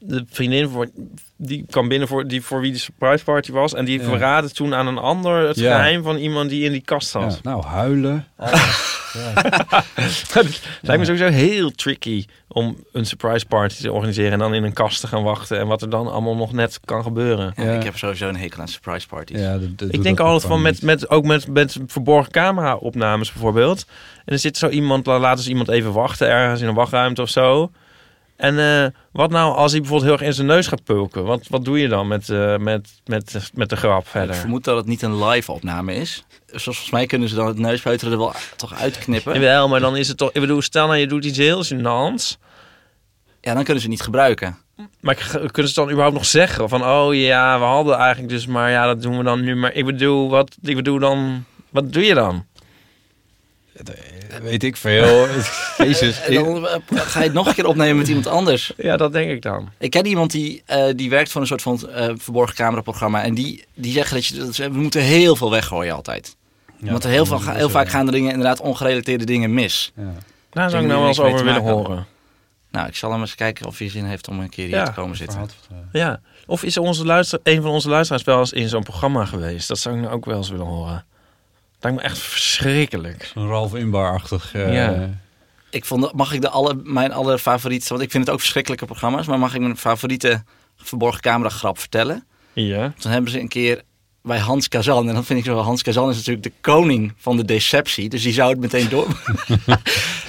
de vriendin voor, die kwam binnen voor, die, voor wie de surprise party was. En die
Ja.
verraadde toen aan een ander het
Ja.
geheim van iemand die in die kast zat.
Ja, nou, huilen.
Lijkt me sowieso heel tricky om een surprise party te organiseren. En dan in een kast te gaan wachten. En wat er dan allemaal nog net kan gebeuren.
Ja,
Ja.
Ik heb sowieso een hekel aan surprise parties.
Ja, dat- dat doet
Ik denk
dat
altijd van
gewoon
met,
niet.
met, ook met, met verborgen camera-opnames bijvoorbeeld. En dan zit zo iemand, la- laten ze iemand even wachten ergens in een wachtruimte of zo. En eh, wat nou als hij bijvoorbeeld heel erg in zijn neus gaat pulken? Wat, wat doe je dan met, eh, met, met, met de grap
Ik
verder?
vermoed dat het niet een live opname is. Dus volgens mij kunnen ze dan het neuspeuteren er wel toch uitknippen.
Jawel, maar dan is het toch... Ik bedoel, stel nou je doet iets heel gênants.
Ja, dan kunnen ze het niet gebruiken.
Maar k- kunnen ze dan überhaupt nog zeggen van, oh ja, we hadden eigenlijk dus, maar ja, dat doen we dan nu. Maar ik bedoel, wat, ik bedoel dan, wat doe je dan?
Weet ik veel. Jezus.
En dan eh, ga je het nog een keer opnemen met iemand anders.
Ja, dat denk ik dan.
Ik ken iemand die, eh, die werkt voor een soort van eh, verborgen cameraprogramma. En die, die zeggen dat je, dat ze- we moeten heel veel weggooien altijd. Want er heel, veel, ga- heel vaak gaan er dingen, inderdaad ongerelateerde dingen mis.
Ja.
Daar zou ik
Dingen
nou
die
wel eens
niks mee
over
te
willen
maken
horen.
Nou, ik zal hem eens kijken of hij zin heeft om een keer hier
Ja,
te komen zitten.
Ja. Of is onze luister, een van onze luisteraars wel eens in zo'n programma geweest? Dat zou ik nou ook wel eens willen horen. Dat lijkt me echt verschrikkelijk.
Een Ralf Inbar-achtig. eh,
Ja.
Ik vond, mag ik de alle, mijn aller favoriete, want ik vind het ook verschrikkelijke programma's, maar mag ik mijn favoriete verborgen camera grap vertellen?
Ja.
Toen hebben ze een keer bij Hans Kazan, en dat vind ik zo wel, Hans Kazan is natuurlijk de koning van de deceptie, dus die zou het meteen door.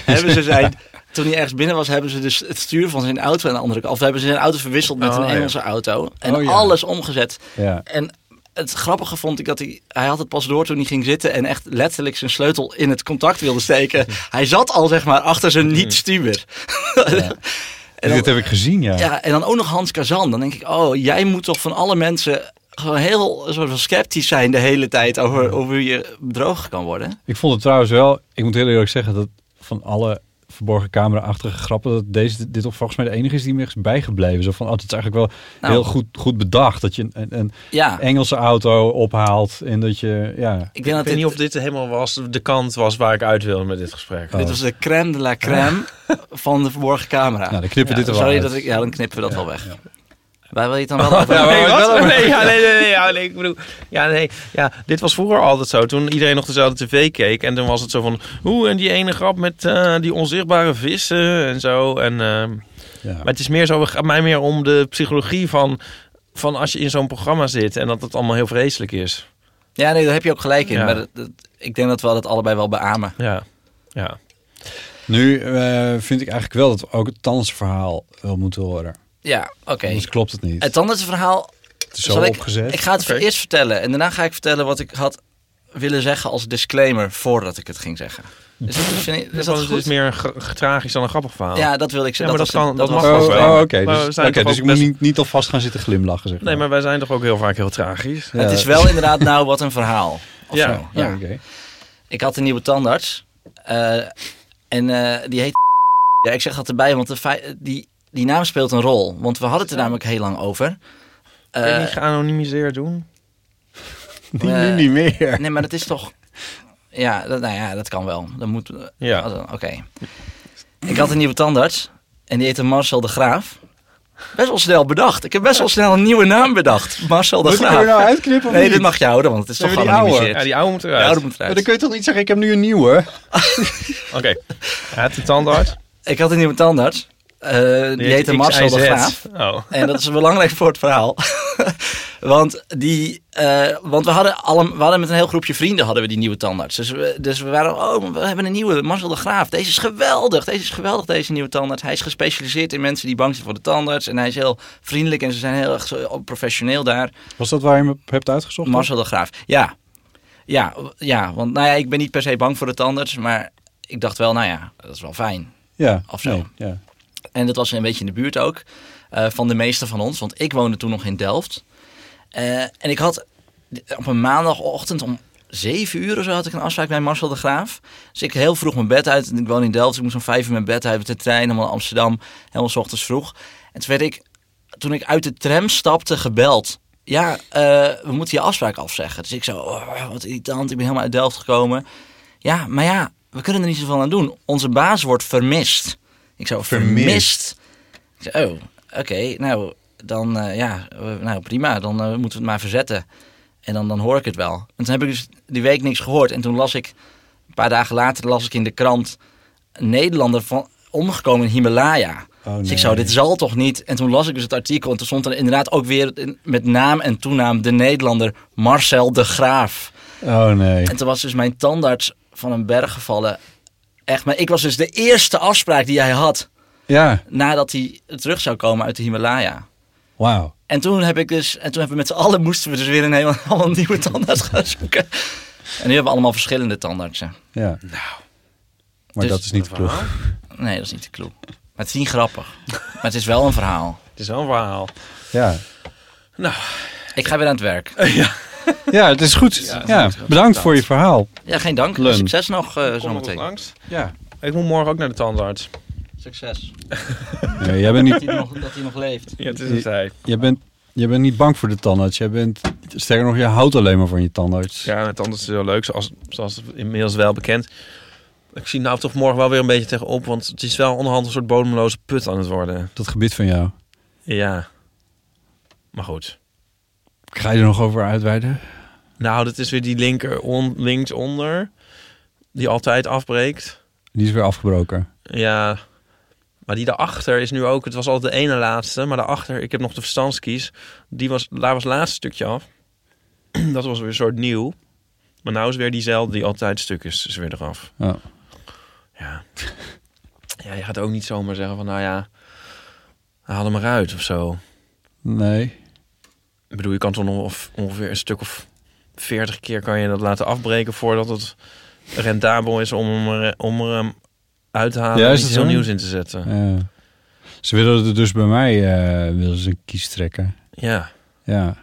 hebben ze zijn, toen hij ergens binnen was, hebben ze dus het stuur van zijn auto aan de andere kant, of hebben ze zijn auto verwisseld met
Oh,
een
ja.
Engelse auto en
Oh, ja.
alles omgezet.
ja.
En het grappige vond ik dat hij... Hij had het pas door toen hij ging zitten... en echt letterlijk zijn sleutel in het contact wilde steken. Hij zat al, zeg maar, achter zijn niet-stuur. en,
Dit
dan-
heb ik gezien, ja.
ja, en dan ook nog Hans Kazan. Dan denk ik, oh, jij moet toch van alle mensen... gewoon heel een soort van sceptisch zijn de hele tijd... over, over hoe je bedrogen kan worden.
Ik vond het trouwens wel, ik moet heel eerlijk zeggen, dat van alle verborgen camera-achtige grappen, dat deze, dit toch volgens mij de enige is die me is bijgebleven. Zo van, oh, dat is eigenlijk wel
Nou.
heel goed, goed bedacht. Dat je een, een- een
Ja,
Engelse auto ophaalt en dat je, ja.
ik denk
Ik
dat
weet
dit,
niet of dit helemaal was, de kant was waar ik uit wilde met dit gesprek.
dit was de crème de la crème van de verborgen camera.
Nou, dan knippen we dit er wel
Sorry
uit.
dat ik, ja, dan knippen we dat wel weg. Waar wil je het dan wel over
Ja,
hebben?
nee, wat? Nee, ja, nee, nee, nee, ja, nee, ik bedoel, ja, nee, ja, dit was vroeger altijd zo. Toen iedereen nog dezelfde tv keek en dan was het zo van, hoe en die ene grap met eh, die onzichtbare vissen en zo. En, ehm,
ja.
maar het is meer zo, het gaat mij meer om de psychologie van, van als je in zo'n programma zit en dat het allemaal heel vreselijk is.
Ja, nee, daar heb je ook gelijk in.
Ja.
Maar dat- dat- ik denk dat we dat allebei wel beamen.
Ja, ja.
Nu eh, vind ik eigenlijk wel dat we ook het tandartsverhaal wel moeten horen.
Ja, oké.
Anders klopt het niet.
Het andere verhaal...
het is zo
zal ik,
opgezet.
ik ga het
Oké.
eerst vertellen. En daarna ga ik vertellen wat ik had willen zeggen als disclaimer voordat ik het ging zeggen. Dus dat vind ik, is
Dus
dat
dat is
goed?
meer een gra- tragisch dan een grappig verhaal.
Ja, dat wil ik
Ja, maar
zeggen.
dat
was
kan-
het-
dat
was
mag
het
Oh,
ook
verhaal.
wel.
oh, oké.
Maar we
Dus,
zijn
oké,
toch
dus
ook
ik moet
best-
niet, niet alvast gaan zitten glimlachen, zeg
Nee,
maar.
maar wij zijn toch ook heel vaak heel tragisch.
Ja.
Het is wel inderdaad nou wat een verhaal. Of
Ja.
zo. ja.
Oh, oké.
Ik had een nieuwe tandarts. eh, en eh, die heet. Ja, ik zeg dat erbij, want de fei- die, die naam speelt een rol. Want we hadden het er namelijk heel lang over.
Kun je
Eh,
niet geanonimiseerd doen?
Die
Eh,
nu niet meer.
nee, maar dat is toch. Ja, dat, nou ja, dat kan wel. Dat moet.
Ja.
Oh, dan- Oké. Ik had een nieuwe tandarts. En die heette Marcel de Graaf. Best wel snel bedacht. Ik heb best wel snel een nieuwe naam bedacht. Marcel de
Moet ik er nou
Graaf.
uitknippen of
Nee,
niet?
dit mag je houden, want het is
Nee,
toch
maar die oude.
geanonimiseerd.
Ja, die oude moet
Die
eruit.
oude moet eruit.
Maar dan kun je toch niet zeggen, ik heb nu een nieuwe?
Oké. Hij heeft een tandarts.
Ik had een nieuwe tandarts. eh, die heette Marcel de Graaf.
Oh.
En dat is belangrijk voor het verhaal. want, die, eh, want we, hadden alle, we hadden met een heel groepje vrienden hadden we die nieuwe tandarts. Dus we, dus we waren, oh, we hebben een nieuwe, Marcel de Graaf. Deze is geweldig, deze is geweldig, deze nieuwe tandarts. Hij is gespecialiseerd in mensen die bang zijn voor de tandarts. En hij is heel vriendelijk en ze zijn heel erg zo professioneel daar.
Was dat waar je me op hebt uitgezocht?
Marcel de Graaf, ja. Ja, w- ja, want nou ja, ik ben niet per se bang voor de tandarts. Maar ik dacht wel, nou ja, dat is wel fijn.
Ja.
Of zo.
Nee, ja.
En dat was een beetje in de buurt ook eh, van de meeste van ons. Want ik woonde toen nog in Delft. Eh, en ik had op een maandagochtend om zeven uur of zo had ik een afspraak bij Marcel de Graaf. Dus ik heel vroeg mijn bed uit. En ik woon in Delft. Dus ik moest om vijf uur mijn bed uit met de trein. Helemaal naar Amsterdam. Helemaal 's ochtends vroeg. En toen werd ik, toen ik uit de tram stapte, gebeld. Ja, eh, we moeten je afspraak afzeggen. Dus ik zo, oh, wat irritant. Ik ben helemaal uit Delft gekomen. Ja, maar ja, we kunnen er niet zoveel aan doen. Onze baas wordt vermist. Ik zo, vermist? Ik zei, oh, oké, nou, dan, eh, ja, eh, nou prima, dan eh, moeten we het maar verzetten. En dan, dan hoor ik het wel. En toen heb ik dus die week niks gehoord. En toen las ik, een paar dagen later las ik in de krant... een Nederlander van, omgekomen in Himalaya.
Oh,
Dus
nee.
ik zou dit zal toch niet? En toen las ik dus het artikel en toen stond er inderdaad ook weer... in- met naam en toenaam de Nederlander Marcel de Graaf.
Oh nee.
En toen was dus mijn tandarts van een berg gevallen. Echt, maar ik was dus de eerste afspraak die hij had
Ja,
nadat hij terug zou komen uit de Himalaya.
wauw.
En toen heb ik dus, en toen hebben we met z'n allen moesten we dus weer een helemaal nieuwe tandarts gaan zoeken. En nu hebben we allemaal verschillende tandartsen.
Ja. Nou. Maar
Dus-
dat is niet de ploeg.
Nee, dat is niet de clue. Maar het is niet grappig. Maar het is wel een verhaal.
Het is wel een verhaal.
Ja,
Ik ga weer aan het werk.
ja het is goed. Ja, bedankt voor je verhaal.
Ja, geen dank.
Lun.
Succes nog eh
Kom nog eens
zometeen.
langs.
Ja.
Ik moet morgen ook naar de tandarts.
Succes.
Nee, jij bent niet,
Dat hij nog, dat hij nog leeft.
Ja, het is
een
zij.
jij bent, jij bent niet bang voor de tandarts. Jij bent, sterker nog, je houdt alleen maar van je tandarts.
Ja, het anders is heel leuk, zoals, zoals inmiddels wel bekend. Ik zie nou toch morgen wel weer een beetje tegenop, want het is wel onderhand een soort bodemloze put aan het worden.
Dat gebied van jou.
Ja. Maar goed.
Ga je er nog over uitweiden?
Nou, dat is weer die linker on, linksonder, die altijd afbreekt.
Die is weer afgebroken.
Ja. Maar die daarachter is nu ook, het was altijd de ene laatste, maar daarachter, ik heb nog de verstandskies, die was, daar was het laatste stukje af. Dat was weer een soort nieuw. Maar nou is weer diezelfde die altijd stuk is, is weer eraf.
Ja.
Ja. ja, je gaat ook niet zomaar zeggen van, nou ja, haal hem eruit of zo.
Nee.
Ik bedoel, je kan toch nog of- ongeveer een stuk of veertig keer kan je dat laten afbreken voordat het rendabel is om hem, er- om er hem uit te halen
Ja,
en
is
iets
het
heel
zo?
nieuws in te zetten. Ja.
Ja. Ze willen er dus bij mij eh, willen ze een kies trekken.
Ja.
Ja,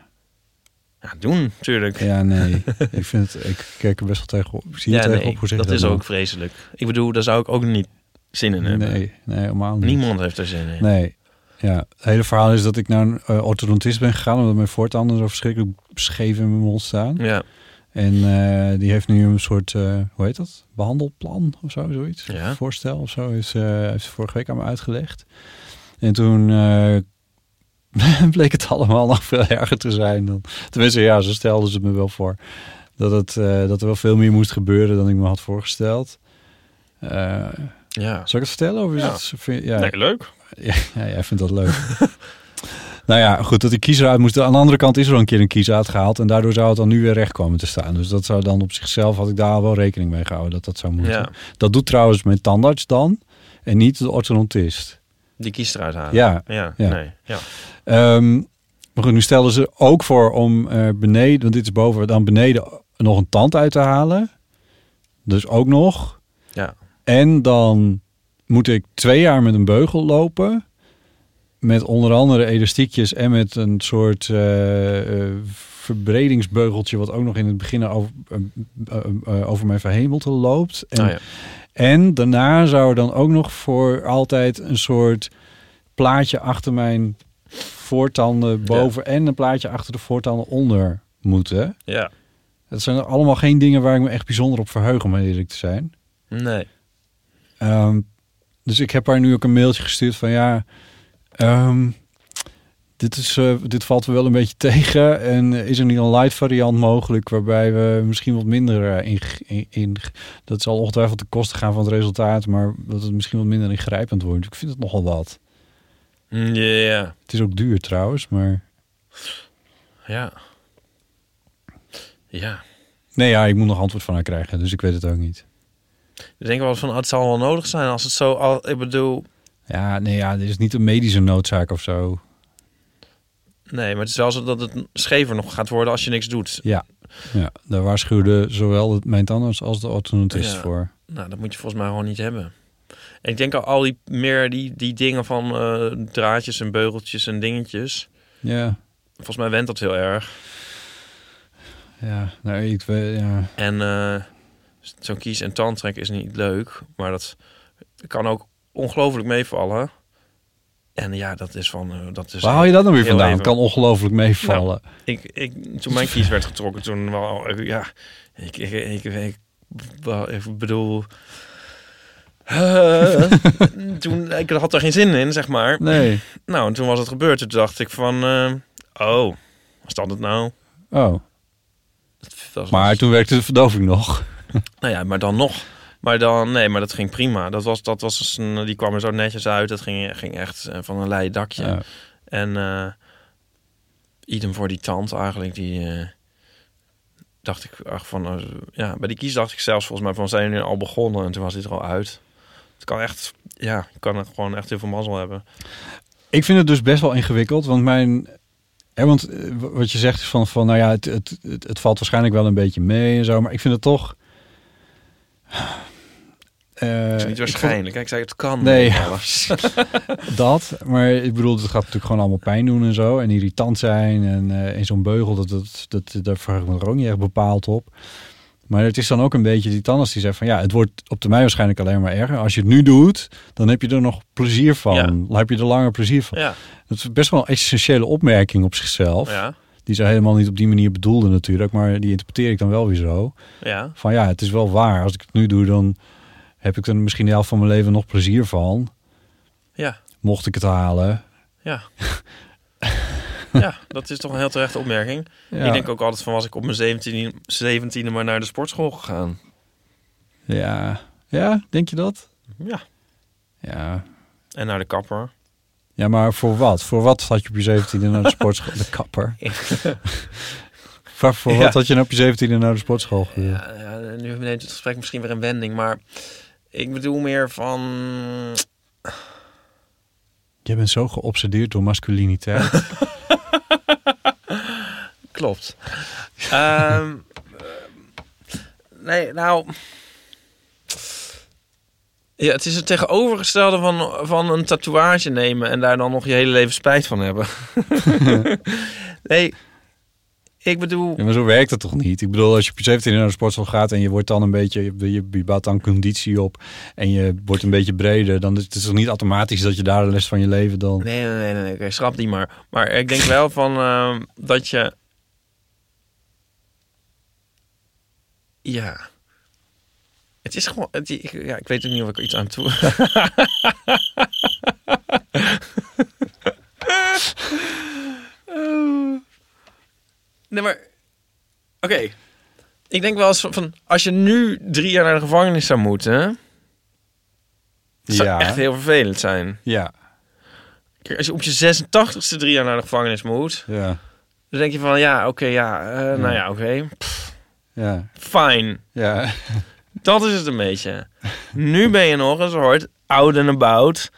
doen natuurlijk.
ja nee. ik, vind het, ik kijk er best wel tegen op. Ik zie
Ja,
er tegen
nee,
op hoe zeg je
dat is
nou?
ook vreselijk. Ik bedoel, daar zou ik ook niet zin in hebben.
Nee, nee, helemaal niet.
Niemand heeft er zin in.
Nee. Ja, het hele verhaal is dat ik naar een eh, orthodontist ben gegaan... omdat mijn voortanden zo verschrikkelijk scheef in mijn mond staan.
Ja,
En eh, die heeft nu een soort, eh, hoe heet dat? Behandelplan of zo, zoiets.
Ja.
Voorstel of zo, is, eh, heeft ze vorige week aan me uitgelegd. En toen eh, bleek het allemaal nog veel erger te zijn. Dan, tenminste, ja, zo stelden ze het me wel voor. Dat, het, eh, dat er wel veel meer moest gebeuren dan ik me had voorgesteld. Eh,
ja.
zal ik het vertellen? Of is
Ja.
het, vind- ja,
Nee, leuk.
ja, ja, jij vindt dat leuk. nou ja, goed, dat die kies eruit moest. Aan de andere kant is er al een keer een kies uitgehaald. En daardoor zou het dan nu weer recht komen te staan. Dus dat zou dan op zichzelf, had ik daar al wel rekening mee gehouden dat dat zou moeten.
Ja.
Dat doet trouwens mijn tandarts dan. En niet de orthodontist.
Die kiest eruit halen.
Ja.
Ja,
Ja.
nee. Ja.
Ehm, maar goed, nu stelden ze ook voor om eh, beneden, want dit is boven, dan beneden nog een tand uit te halen. Dus ook nog.
Ja.
En dan moet ik twee jaar met een beugel lopen. Met onder andere elastiekjes en met een soort eh, eh, verbredingsbeugeltje... wat ook nog in het begin over, eh, eh, eh, over mijn verhemelte loopt. En,
Nou ja.
en daarna zou er dan ook nog voor altijd een soort plaatje achter mijn voortanden boven... en een plaatje achter de voortanden onder moeten.
ja.
Dat zijn allemaal geen dingen waar ik me echt bijzonder op verheug... om eerlijk te zijn.
Nee.
Ehm, dus ik heb haar nu ook een mailtje gestuurd van ja, ehm, dit, is, eh, dit valt me wel een beetje tegen. En eh, is er niet een light variant mogelijk waarbij we misschien wat minder eh, in, in, in- Dat zal ongetwijfeld de kosten gaan van het resultaat, maar dat het misschien wat minder ingrijpend wordt. Ik vind het nogal wat.
Mm, Ja.
Het is ook duur trouwens, maar...
Ja. Ja.
Nee, ja, ik moet nog antwoord van haar krijgen, dus ik weet het ook niet.
Ik denk wel van, oh, het zal wel nodig zijn als het zo al... Ik bedoel,
Ja, nee, ja, dit is niet een medische noodzaak of zo.
nee, maar het is wel zo dat het schever nog gaat worden als je niks doet.
Ja, ja daar waarschuwde zowel het- mijn tandarts als de orthodontist
Ja.
voor.
Nou, dat moet je volgens mij gewoon niet hebben. En ik denk al, al die meer die, die dingen van eh, draadjes en beugeltjes en dingetjes.
Ja,
Volgens mij went dat heel erg.
ja, nou, ik weet, ja.
En eh, zo'n kies- en tandtrek is niet leuk, maar dat kan ook ongelooflijk meevallen. En ja, dat is van... eh, dat is
Waar haal je dat nou weer
heel
vandaan?
even.
Het kan ongelooflijk meevallen.
Ik, ik, toen mijn kies werd getrokken, toen wel, ik- ja, ik, ik, ik, ik, wel, ik bedoel, eh, toen, ik had er geen zin in, zeg maar.
Nee.
Nou, en toen was het gebeurd. Toen dacht ik van, eh, oh, was dat het nou?
Oh,
Dat was- dus-
maar toen werkte de verdoving nog.
Nou ja, maar dan nog. Maar dan, nee, maar dat ging prima. Dat was, dat was dus een, die kwam er zo netjes uit. Dat ging, ging echt eh, van een leien dakje.
Ja.
En eh, idem voor die tand eigenlijk, die eh, dacht ik ach, van... eh, ja, bij die kies dacht ik zelfs volgens mij van, zijn jullie al begonnen? En toen was dit er al uit. Het kan echt, ja, je kan er gewoon echt heel veel mazzel hebben.
Ik vind het dus best wel ingewikkeld, want mijn... Hè, want eh, w- wat je zegt is van, van nou ja, het, het, het, het valt waarschijnlijk wel een beetje mee en zo. Maar ik vind het toch... eh,
is niet
ik vond-
waarschijnlijk. Kijk, ik zei het kan.
Nee.
Ja.
Dat, maar ik bedoel, het gaat natuurlijk gewoon allemaal pijn doen en zo. En irritant zijn en eh, in zo'n beugel, dat, dat, dat, daar verheug ik me er ook niet echt bepaald op. Maar het is dan ook een beetje die tandarts die zegt van... ja, het wordt op termijn waarschijnlijk alleen maar erger. Als je het nu doet, dan heb je er nog plezier van.
Ja.
Dan heb je er langer plezier van.
Ja.
Dat is best wel een essentiële opmerking op zichzelf.
Ja.
Die ze helemaal niet op die manier bedoelde natuurlijk. Maar die interpreteer ik dan wel weer zo.
Ja.
Van ja, het is wel waar. Als ik het nu doe, dan heb ik er misschien de helft van mijn leven nog plezier van.
Ja.
Mocht ik het halen.
Ja. ja, dat is toch een heel terechte opmerking.
Ja.
Ik denk ook altijd van was ik op mijn 17e, 17e maar naar de sportschool gegaan.
Ja. ja, denk je dat?
Ja.
Ja.
En naar de kapper.
Ja, maar voor wat? Voor wat had je op je 17e naar de sportschool? De kapper. voor voor
Ja.
wat had je nou op je 17e naar de sportschool gegaan?
Ja, ja, nu neemt het gesprek misschien weer een wending, maar ik bedoel meer van
Je bent zo geobsedeerd door masculiniteit.
Klopt. Ehm, eh, nee, nou. Ja, het is het tegenovergestelde van, van een tatoeage nemen en daar dan nog je hele leven spijt van hebben. nee, ik bedoel.
ja, maar zo werkt het toch niet? Ik bedoel, als je op je 17e naar de sportschool gaat en je wordt dan een beetje, je, je, je bouwt dan conditie op en je wordt een beetje breder, dan is het is toch niet automatisch dat je daar de rest van je leven dan.
Nee, nee, nee, nee, nee, oké, schrap die maar. Maar ik denk wel van ehm, dat je. Ja. Het is gewoon. Het, ik- ja, ik weet ook niet of ik er iets aan toe. Nee, maar. Oké. Ik denk wel eens van, van. Als je nu drie jaar naar de gevangenis zou moeten. Het zou
Ja.
echt heel vervelend zijn.
Ja,
Kijk, als je op je 86ste drie jaar naar de gevangenis moet.
ja,
Dan denk je van. Ja, oké, ja, eh, Nou ja, oké.
ja,
Fijn.
ja.
Dat is het een beetje. Nu ben je nog een soort oud en about.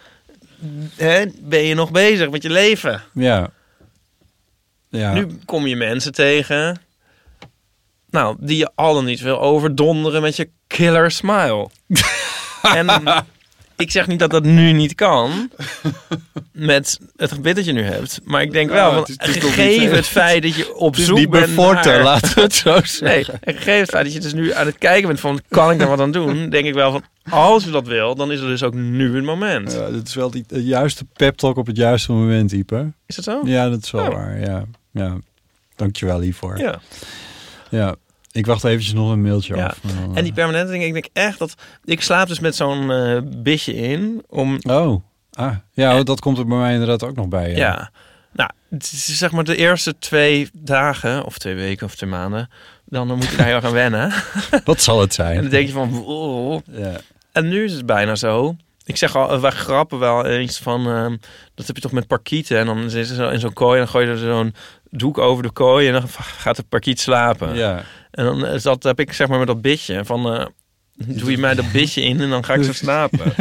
Hè, ben je nog bezig met je leven.
Ja. Ja.
Nu kom je mensen tegen. Nou, die je al dan niet wil overdonderen met je killer smile. en ik zeg niet dat dat nu niet kan. Met het gebit dat je nu hebt. Maar ik denk wel,
Ja,
want
het is- het is toch niet- eh,
gegeven het feit dat je op
Het is
zoek
niet
bent
bevorten,
naar...
laten we het zo zeggen.
Nee, en gegeven het feit dat je dus nu aan het kijken bent van... kan ik daar wat aan doen? Denk ik wel van, als je dat wil, dan is er dus ook nu een moment.
Ja, dat is wel die, de juiste pep talk op het juiste moment, Ieper.
Is dat zo?
Ja, dat is wel
Ja.
waar. Ja. ja. Dankjewel hiervoor. Ja.
Ja.
Ik wacht eventjes nog een mailtje
Ja.
af. maar dan,
En die permanente ding, ik denk echt dat... Ik slaap dus met zo'n eh bitje in om...
eh, Oh, ah. ja, oh, dat komt er bij mij inderdaad ook nog bij.
Ja.
Ja.
Nou, het is zeg maar de eerste twee dagen, of twee weken of twee maanden... dan moet je daar heel erg aan wennen.
Wat zal het
En dan
zijn?
denk je van... wow.
Ja.
En nu is het bijna zo. Ik zeg al, eh, wij grappen wel eens van... ehm, dat heb je toch met parkieten. En dan zitten ze in zo'n kooi en dan gooi je er zo'n doek over de kooi... en dan gaat de parkiet slapen.
Ja.
En dan is dat, heb ik zeg maar met dat bitje van... eh, doe je mij dat bitje in en dan ga ik
Dus-
zo slapen.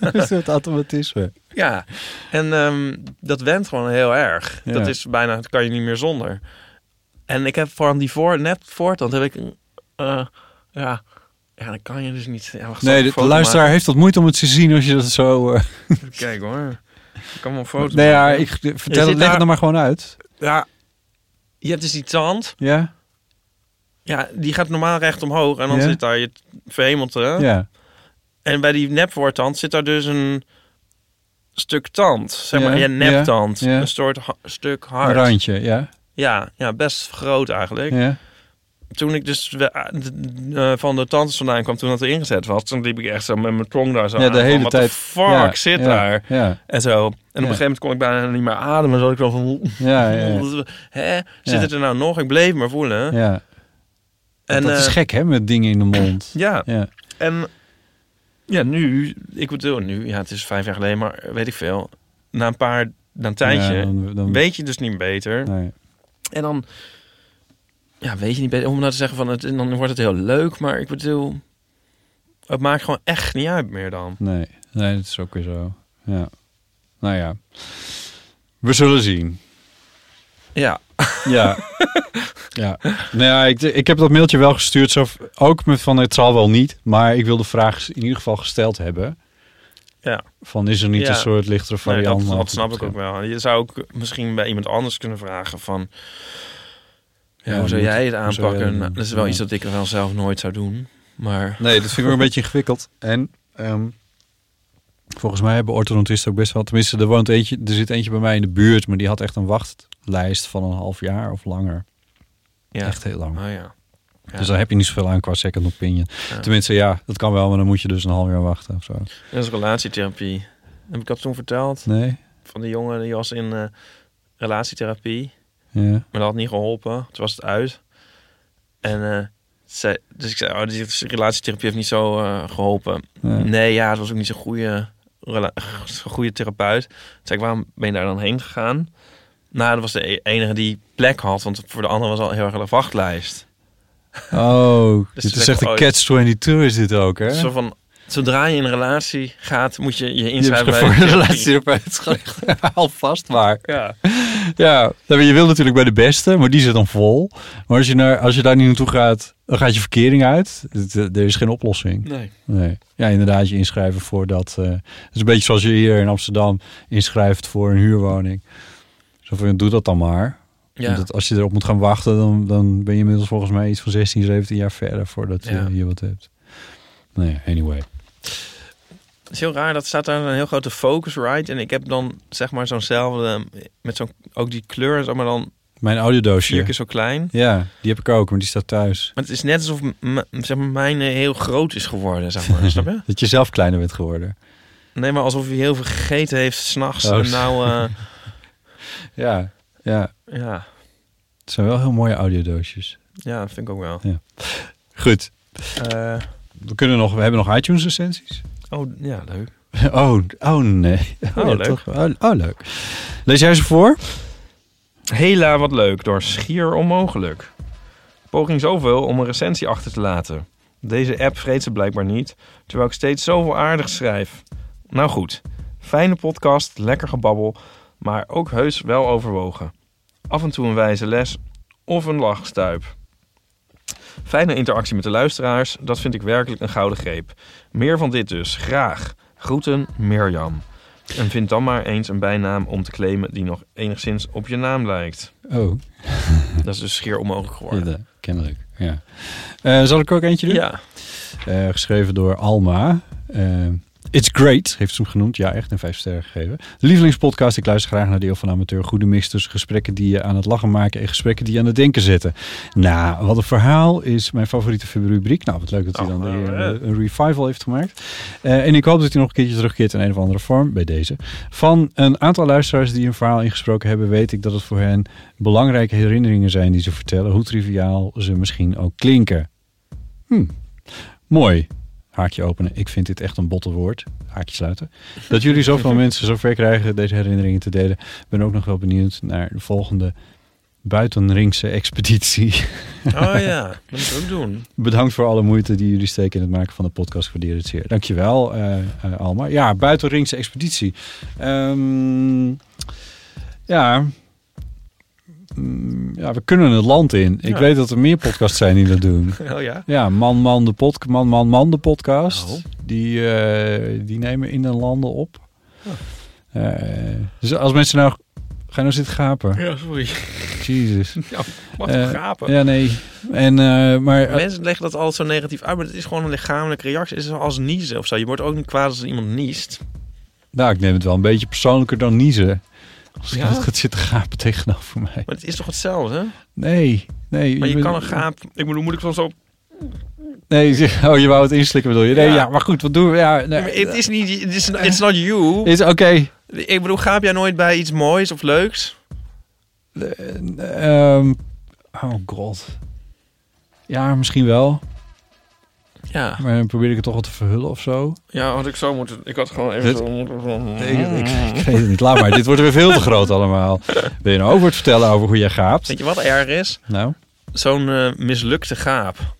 Dat is het automatisme.
Ja, en ehm, dat went gewoon heel erg.
Ja.
Dat is bijna, dat kan je niet meer zonder. En ik heb van die voor, net voortand heb ik, een, eh, ja, ja, dan kan je dus niet. Ja, wacht, zal ik
Nee,
een
de, de
foto
luisteraar heeft dat moeite om het te zien als je dat zo... eh,
maken? Kijk hoor, ik kan wel een foto
nee, ja,
maken.
ik, vertel
zit
het, leg
daar-
het er maar gewoon uit.
Ja, je hebt dus die tand,
Ja?
ja, die gaat normaal recht omhoog en dan
Ja.
zit daar je verhemelte.
Ja.
En bij die nepvoortand zit daar dus een stuk tand, zeg maar,
Ja,
je neptand.
ja, ja.
Een soort ha- stuk
Een
hard.
randje, ja.
Ja, ja, best groot eigenlijk.
Ja.
toen ik dus we- eh, d- eh, van de tandarts vandaan kwam, toen dat er ingezet was, toen liep ik echt zo met mijn tong daar zo
Ja,
aan,
de
van,
hele
"What
tijd.
the fuck
ja,
zit
ja,
daar?
Ja,
En zo. En op een gegeven moment kon ik bijna niet meer ademen. Zo had ik wel van,
ja, ja.
hè, zit het er nou nog? Ik bleef maar voelen.
ja.
En,
dat is
eh,
gek, hè, met dingen in de mond.
Ja,
Ja,
en ja, nu, ik bedoel nu, ja, het is vijf jaar geleden, maar weet ik veel. Na een paar, na een tijdje,
Ja, dan- dan-
weet je dus niet beter.
nee.
En dan, ja, weet je niet beter. Om nou te zeggen van het, en dan wordt het heel leuk, maar ik bedoel, het maakt gewoon echt niet uit meer dan.
nee, nee, dat is ook weer zo. Ja. Nou ja, we zullen zien.
Ja,
Ja. ja. Nou ja, ik, ik heb dat mailtje wel gestuurd. Zo, ook met van het zal wel niet. Maar ik wil de vraag in ieder geval gesteld hebben.
Ja.
Van is er niet
Ja.
een soort lichtere
nee,
variant?
dat,
aan
dat
te
snap ik ook
betrekken?
wel. Je zou ook misschien bij iemand anders kunnen vragen van... Ja,
Ja,
hoe zou
moet-
jij het
hoe zou jij
aanpakken?
dat
Nou,
doen?
dat is wel
Ja.
iets dat ik wel zelf nooit zou doen. Maar
Nee, dat vind ik wel een beetje ingewikkeld. En ehm, volgens mij hebben orthodontisten ook best wel... Tenminste, er, woont eentje, er zit eentje bij mij in de buurt. Maar die had echt een wachtlijst van een half jaar of langer.
ja.
Echt heel lang.
Oh ja. Ja.
Dus daar heb je niet zoveel aan qua second opinion.
Ja.
Tenminste, ja, dat kan wel. Maar dan moet je dus een half jaar wachten of zo.
Dat is relatietherapie. Heb ik dat toen verteld?
Nee?
Van die jongen die was in eh, relatietherapie.
Ja.
Maar dat had niet geholpen. Toen was het uit. En eh, zei, dus ik zei, oh, die relatietherapie heeft niet zo eh, geholpen.
Nee.
Nee, ja, het was ook niet zo'n goede, rela- zo'n goede therapeut. Toen zei ik, waarom ben je daar dan heen gegaan? Nou, dat was de e- enige die plek had. Want voor de andere was al heel erg een wachtlijst.
Oh,
Dus
dit
ze
is echt
zeggen,
een
oh,
catch-22 is dit ook, hè?
Zo van, zodra je in een relatie gaat, moet je je
je hebt
inschrijven
gewoon
bij
een
de
relatie
relatie.
op vast, maar...
Ja.
Ja, nou, je wil natuurlijk bij de beste, maar die zit dan vol. Maar als je, naar, als je daar niet naartoe gaat, dan gaat je verkering uit. Het, eh, Er is geen oplossing.
Nee.
Nee. Ja, inderdaad, je inschrijven voor dat... eh, het is een beetje zoals je hier in Amsterdam inschrijft voor een huurwoning. Zo van, doe dat dan maar.
Ja.
Want het- als je erop moet gaan wachten, dan, dan ben je inmiddels volgens mij iets van 16, 17 jaar verder voordat je
Ja.
hier wat hebt. Nee, anyway.
Het is heel raar, dat staat daar een heel grote focus right. En ik heb dan zeg maar zo'nzelfde, met zo'n, ook die kleur, zeg maar dan
Mijn
vier
audiodoosje.
keer zo klein.
Ja, die heb ik ook, maar die staat thuis.
Maar het is net alsof m- m- zeg maar, mijn eh, heel groot is geworden, zeg maar. snap je?
Dat je zelf kleiner bent geworden.
Nee, maar alsof hij heel veel gegeten heeft s'nachts.
Oh,
en nou, eh,
Ja, ja.
ja,
Het zijn wel heel mooie audiodoosjes.
ja, dat vind ik ook wel.
Goed,
Eh,
we, kunnen nog, we hebben nog iTunes recensies.
oh, ja, leuk.
Oh, oh nee.
Oh,
ja,
leuk.
toch? Oh, oh, leuk. Lees jij ze voor?
Hela wat leuk, door schier onmogelijk. Poging zoveel om een recensie achter te laten. Deze app vreet ze blijkbaar niet, terwijl ik steeds zoveel aardig schrijf. Nou goed, fijne podcast, lekker gebabbel, maar ook heus wel overwogen. Af en toe een wijze les of een lachstuip. Fijne interactie met de luisteraars, dat vind ik werkelijk een gouden greep. Meer van dit dus, graag. Groeten, Mirjam. En vind dan maar eens een bijnaam om te claimen die nog enigszins op je naam lijkt.
Oh,
Dat is dus schier onmogelijk
ja,
geworden.
dat- kennelijk. Ja. Eh, zal ik er ook eentje doen?
Ja,
Eh, geschreven door Alma. Eh, It's Great, heeft ze hem genoemd. Ja, echt een vijf sterren gegeven. Lievelingspodcast, ik luister graag naar Deel van Amateur. Goede mix tussen gesprekken die je aan het lachen maken... en gesprekken die je aan het denken zetten. Nou, wat een verhaal is mijn favoriete rubriek. Nou, wat leuk dat hij
Oh,
dan
nou,
weer eh,
hè.
een, een revival heeft gemaakt. Eh, en ik hoop dat hij nog een keertje terugkeert in een of andere vorm, bij deze. Van een aantal luisteraars die een verhaal ingesproken hebben... weet ik dat het voor hen belangrijke herinneringen zijn die ze vertellen... hoe triviaal ze misschien ook klinken. Hm, mooi. Haakje openen. Ik vind dit echt een botte woord. Haakje sluiten. Dat jullie zoveel mensen zover krijgen deze herinneringen te delen. Ik ben ook nog wel benieuwd naar de volgende buitenringse expeditie.
oh ja, dat moet ik ook doen.
Bedankt voor alle moeite die jullie steken in het maken van de podcast. Ik Waardeer het zeer. Dankjewel, eh eh, Alma. Ja, buitenringse expeditie. Ehm, ja. Mm, ja, we kunnen het land in. Ik
Ja.
weet dat er meer podcasts zijn die dat doen.
Oh ja.
Ja, Man Man de, pod man, man, man de podcast.
Oh.
Die, eh, die nemen in de landen op. Eh, dus als mensen nou... Ga je nou zitten gapen?
Ja, sorry.
Jezus.
Wat
Eh,
een gapen.
Ja, nee. En, eh, maar...
Mensen leggen dat altijd zo negatief uit, maar het is gewoon een lichamelijke reactie. Het is als niezen of zo. Je wordt ook niet kwaad als iemand niest.
nou, ik neem het wel een beetje persoonlijker dan niezen. Als
Ja?
iemand gaat zitten gapen tegenover mij.
Maar het is toch hetzelfde? hè?
Nee, nee.
Maar je
bent-
kan een gaap... Ik bedoel, moet ik soms zo...
Nee, oh, je wou het inslikken bedoel je? Nee, ja,
Ja.
maar goed, wat doen we? Ja, nee.
Maar Het is niet... het is-
eh,
It's not you.
Is- Oké,
Ik bedoel, gaap jij nooit bij iets moois of leuks?
Eh, Ehm, oh god. Ja, misschien wel.
Ja.
Maar dan probeer ik het toch wat te verhullen of zo.
Ja, had ik zo moeten... Ik had gewoon
Dit-
even zo...
Ik, ik, ik weet het niet. Laat maar. Dit wordt weer veel te groot allemaal. Wil je nou over het vertellen over hoe jij gaapt?
Weet je wat erg is?
Nou?
Zo'n eh, mislukte gaap.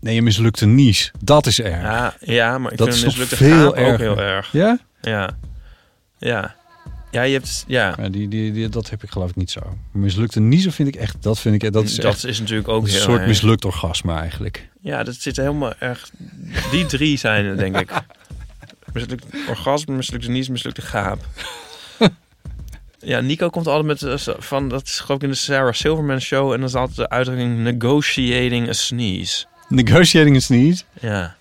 Nee, je mislukte nies. Dat is erg. Ja?
Ja, ja maar ik
Dat
vind
is
een
nog
mislukte
veel
gaap ook
erger.
heel erg. Ja. Ja. Ja, je hebt... Ja,
Maar die, die, die- dat heb ik geloof ik niet zo. Mislukte niet zo vind ik echt. Dat vind ik. Dat is echt
natuurlijk ook
een
heel
soort
erg.
mislukt orgasme eigenlijk.
Ja, dat zit helemaal erg... Die drie zijn het, denk ik. Mislukt orgasme, mislukte niets, mislukte gaap. Ja, Nico komt altijd met eh, zo- van, dat is geloof ik in de Sarah Silverman show. En dan is altijd de uitdrukking negotiating a sneeze.
Negotiating is niet.
Ja.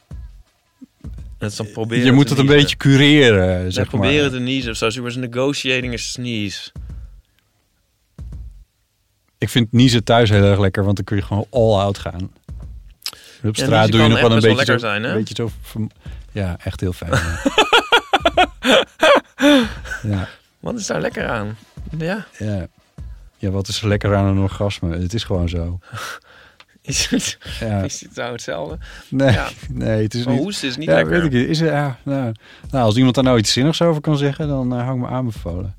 Dat is dan proberen
Je moet
te
het een
niezen.
beetje cureren,
Ze
zeg maar.
proberen te niezen of zo. Ze was negotiating a sneeze.
Ik vind niezen thuis heel erg lekker, want dan kun je gewoon all-out gaan. En Op
Ja,
straat
niezen
doe
kan
je nog
echt
wel een
best wel
beetje zo,
lekker zijn, hè?
een beetje zo verm- Ja, echt heel fijn. ja. ja,
Wat is daar lekker aan? Ja.
ja. ja, wat is er lekker aan een orgasme? Het is gewoon zo.
Is het,
Ja.
is het nou hetzelfde?
Nee,
Ja.
nee, het is
Maar
niet...
hoesten is niet
ja,
lekker.
weet ik niet. Is er, ja, nou, nou, als iemand daar nou iets zinnigs over kan zeggen, dan eh, hou ik me aanbevolen.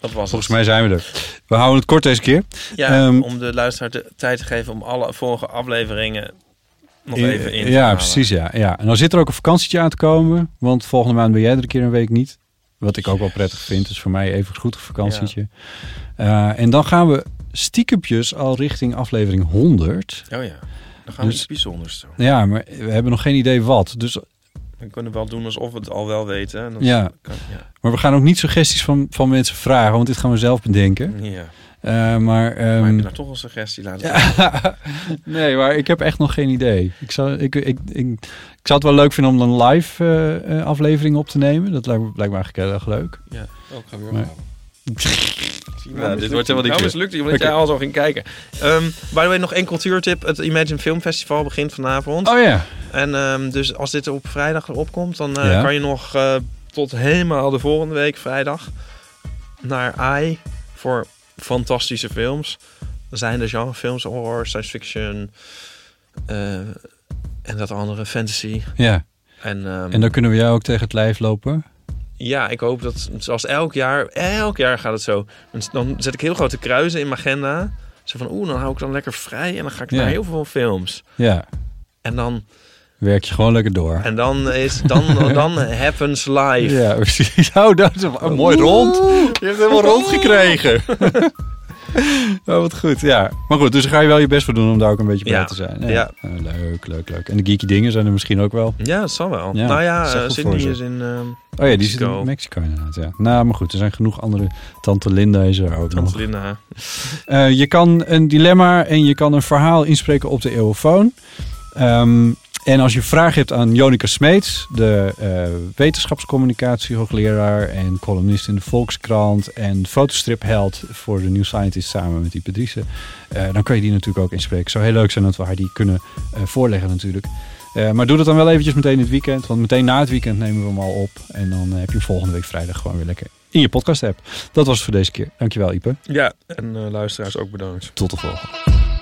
Dat was
Volgens
het.
mij zijn we er. We houden het kort deze keer.
Ja,
ehm,
om de luisteraar de tijd te geven om alle vorige afleveringen nog
Ja,
even in te
Ja,
halen.
precies. Ja. ja. En dan zit er ook een vakantietje aan te komen. Want volgende maand ben jij er een keer een week niet. Wat ik ook wel prettig vind. Dus voor mij even goed een vakantietje. Eh, en dan gaan we stiekempjes al richting aflevering 100.
Oh ja. Dan gaan we
Dus-
iets bijzonders doen.
Ja, maar we hebben nog geen idee wat. Dus,
We kunnen wel doen alsof we het al wel weten. En dat
Ja.
Kan, ja.
maar we gaan ook niet suggesties van, van mensen vragen. Want dit gaan we zelf bedenken.
ja.
Eh, maar... ehm,
Maar heb Hm. je nou toch een suggestie laten doen?
nee, maar ik heb echt nog geen idee. Ik zou, ik, ik, ik, ik zou het wel leuk vinden om een live eh, eh, aflevering op te nemen. Dat lijkt, me- lijkt me eigenlijk heel erg leuk.
Ja. Oh, ik ga weer
Nee.
ophouden. Zie je,
Ja,
nou
dit
mislukt-
wordt helemaal niks
Nou
meer.
mislukt hij, omdat
Oké.
jij al zo ging kijken. Ehm by the way, nog één cultuurtip. Het Imagine Film Festival begint vanavond.
Oh ja.
En ehm, dus als dit op vrijdag erop komt, dan eh,
Ja.
kan je nog eh, tot helemaal de volgende week vrijdag naar AI voor fantastische films. Er zijn de genrefilms, horror, science fiction eh, en dat andere, fantasy.
Ja.
En, ehm,
En dan kunnen we jou ook tegen het lijf lopen.
ja, ik hoop dat, zoals elk jaar, elk jaar gaat het zo. Dan- Dan zet ik heel grote kruisen in mijn agenda. Zo van, oeh, dan hou ik dan lekker vrij en dan ga ik
Ja.
naar heel veel films.
Ja,
En dan,
werk je gewoon lekker door.
en dan is, dan, dan happens live.
Ja, precies. Oh, dat is een, een mooi rond. Je hebt het helemaal rond gekregen. oh, wat goed, ja. Maar goed, dus daar ga je wel je best voor doen om daar ook een beetje bij
Ja,
te zijn.
ja.
Eh, Leuk, leuk, leuk. En de geeky dingen zijn er misschien ook wel.
Ja, dat zal wel.
Ja,
nou
dat
ja,
is echt
eh,
goed
Sydney
voor ze.
is in... ehm
Oh ja, die zit in
Mexico.
Mexico inderdaad, ja. Nou, maar goed, er zijn genoeg andere. Tante Linda is er ook nog.
Tante Linda.
Eh, je kan een dilemma en je kan een verhaal inspreken op de eeuwofoon. Ehm, en als je vragen hebt aan Jonica Smeets, de eh wetenschapscommunicatiehoogleraar en columnist in de Volkskrant en fotostripheld voor de New Scientist samen met die Pedrice, eh, dan kan je die natuurlijk ook inspreken. Zou heel leuk zijn dat we haar die kunnen eh, voorleggen natuurlijk. Eh, maar doe dat dan wel eventjes meteen in het weekend, want meteen na het weekend nemen we hem al op. En dan eh, heb je hem volgende week vrijdag gewoon weer lekker in je podcast app. Dat was het voor deze keer. Dankjewel Ipe.
Ja, en eh, luisteraars ook bedankt.
Tot de volgende.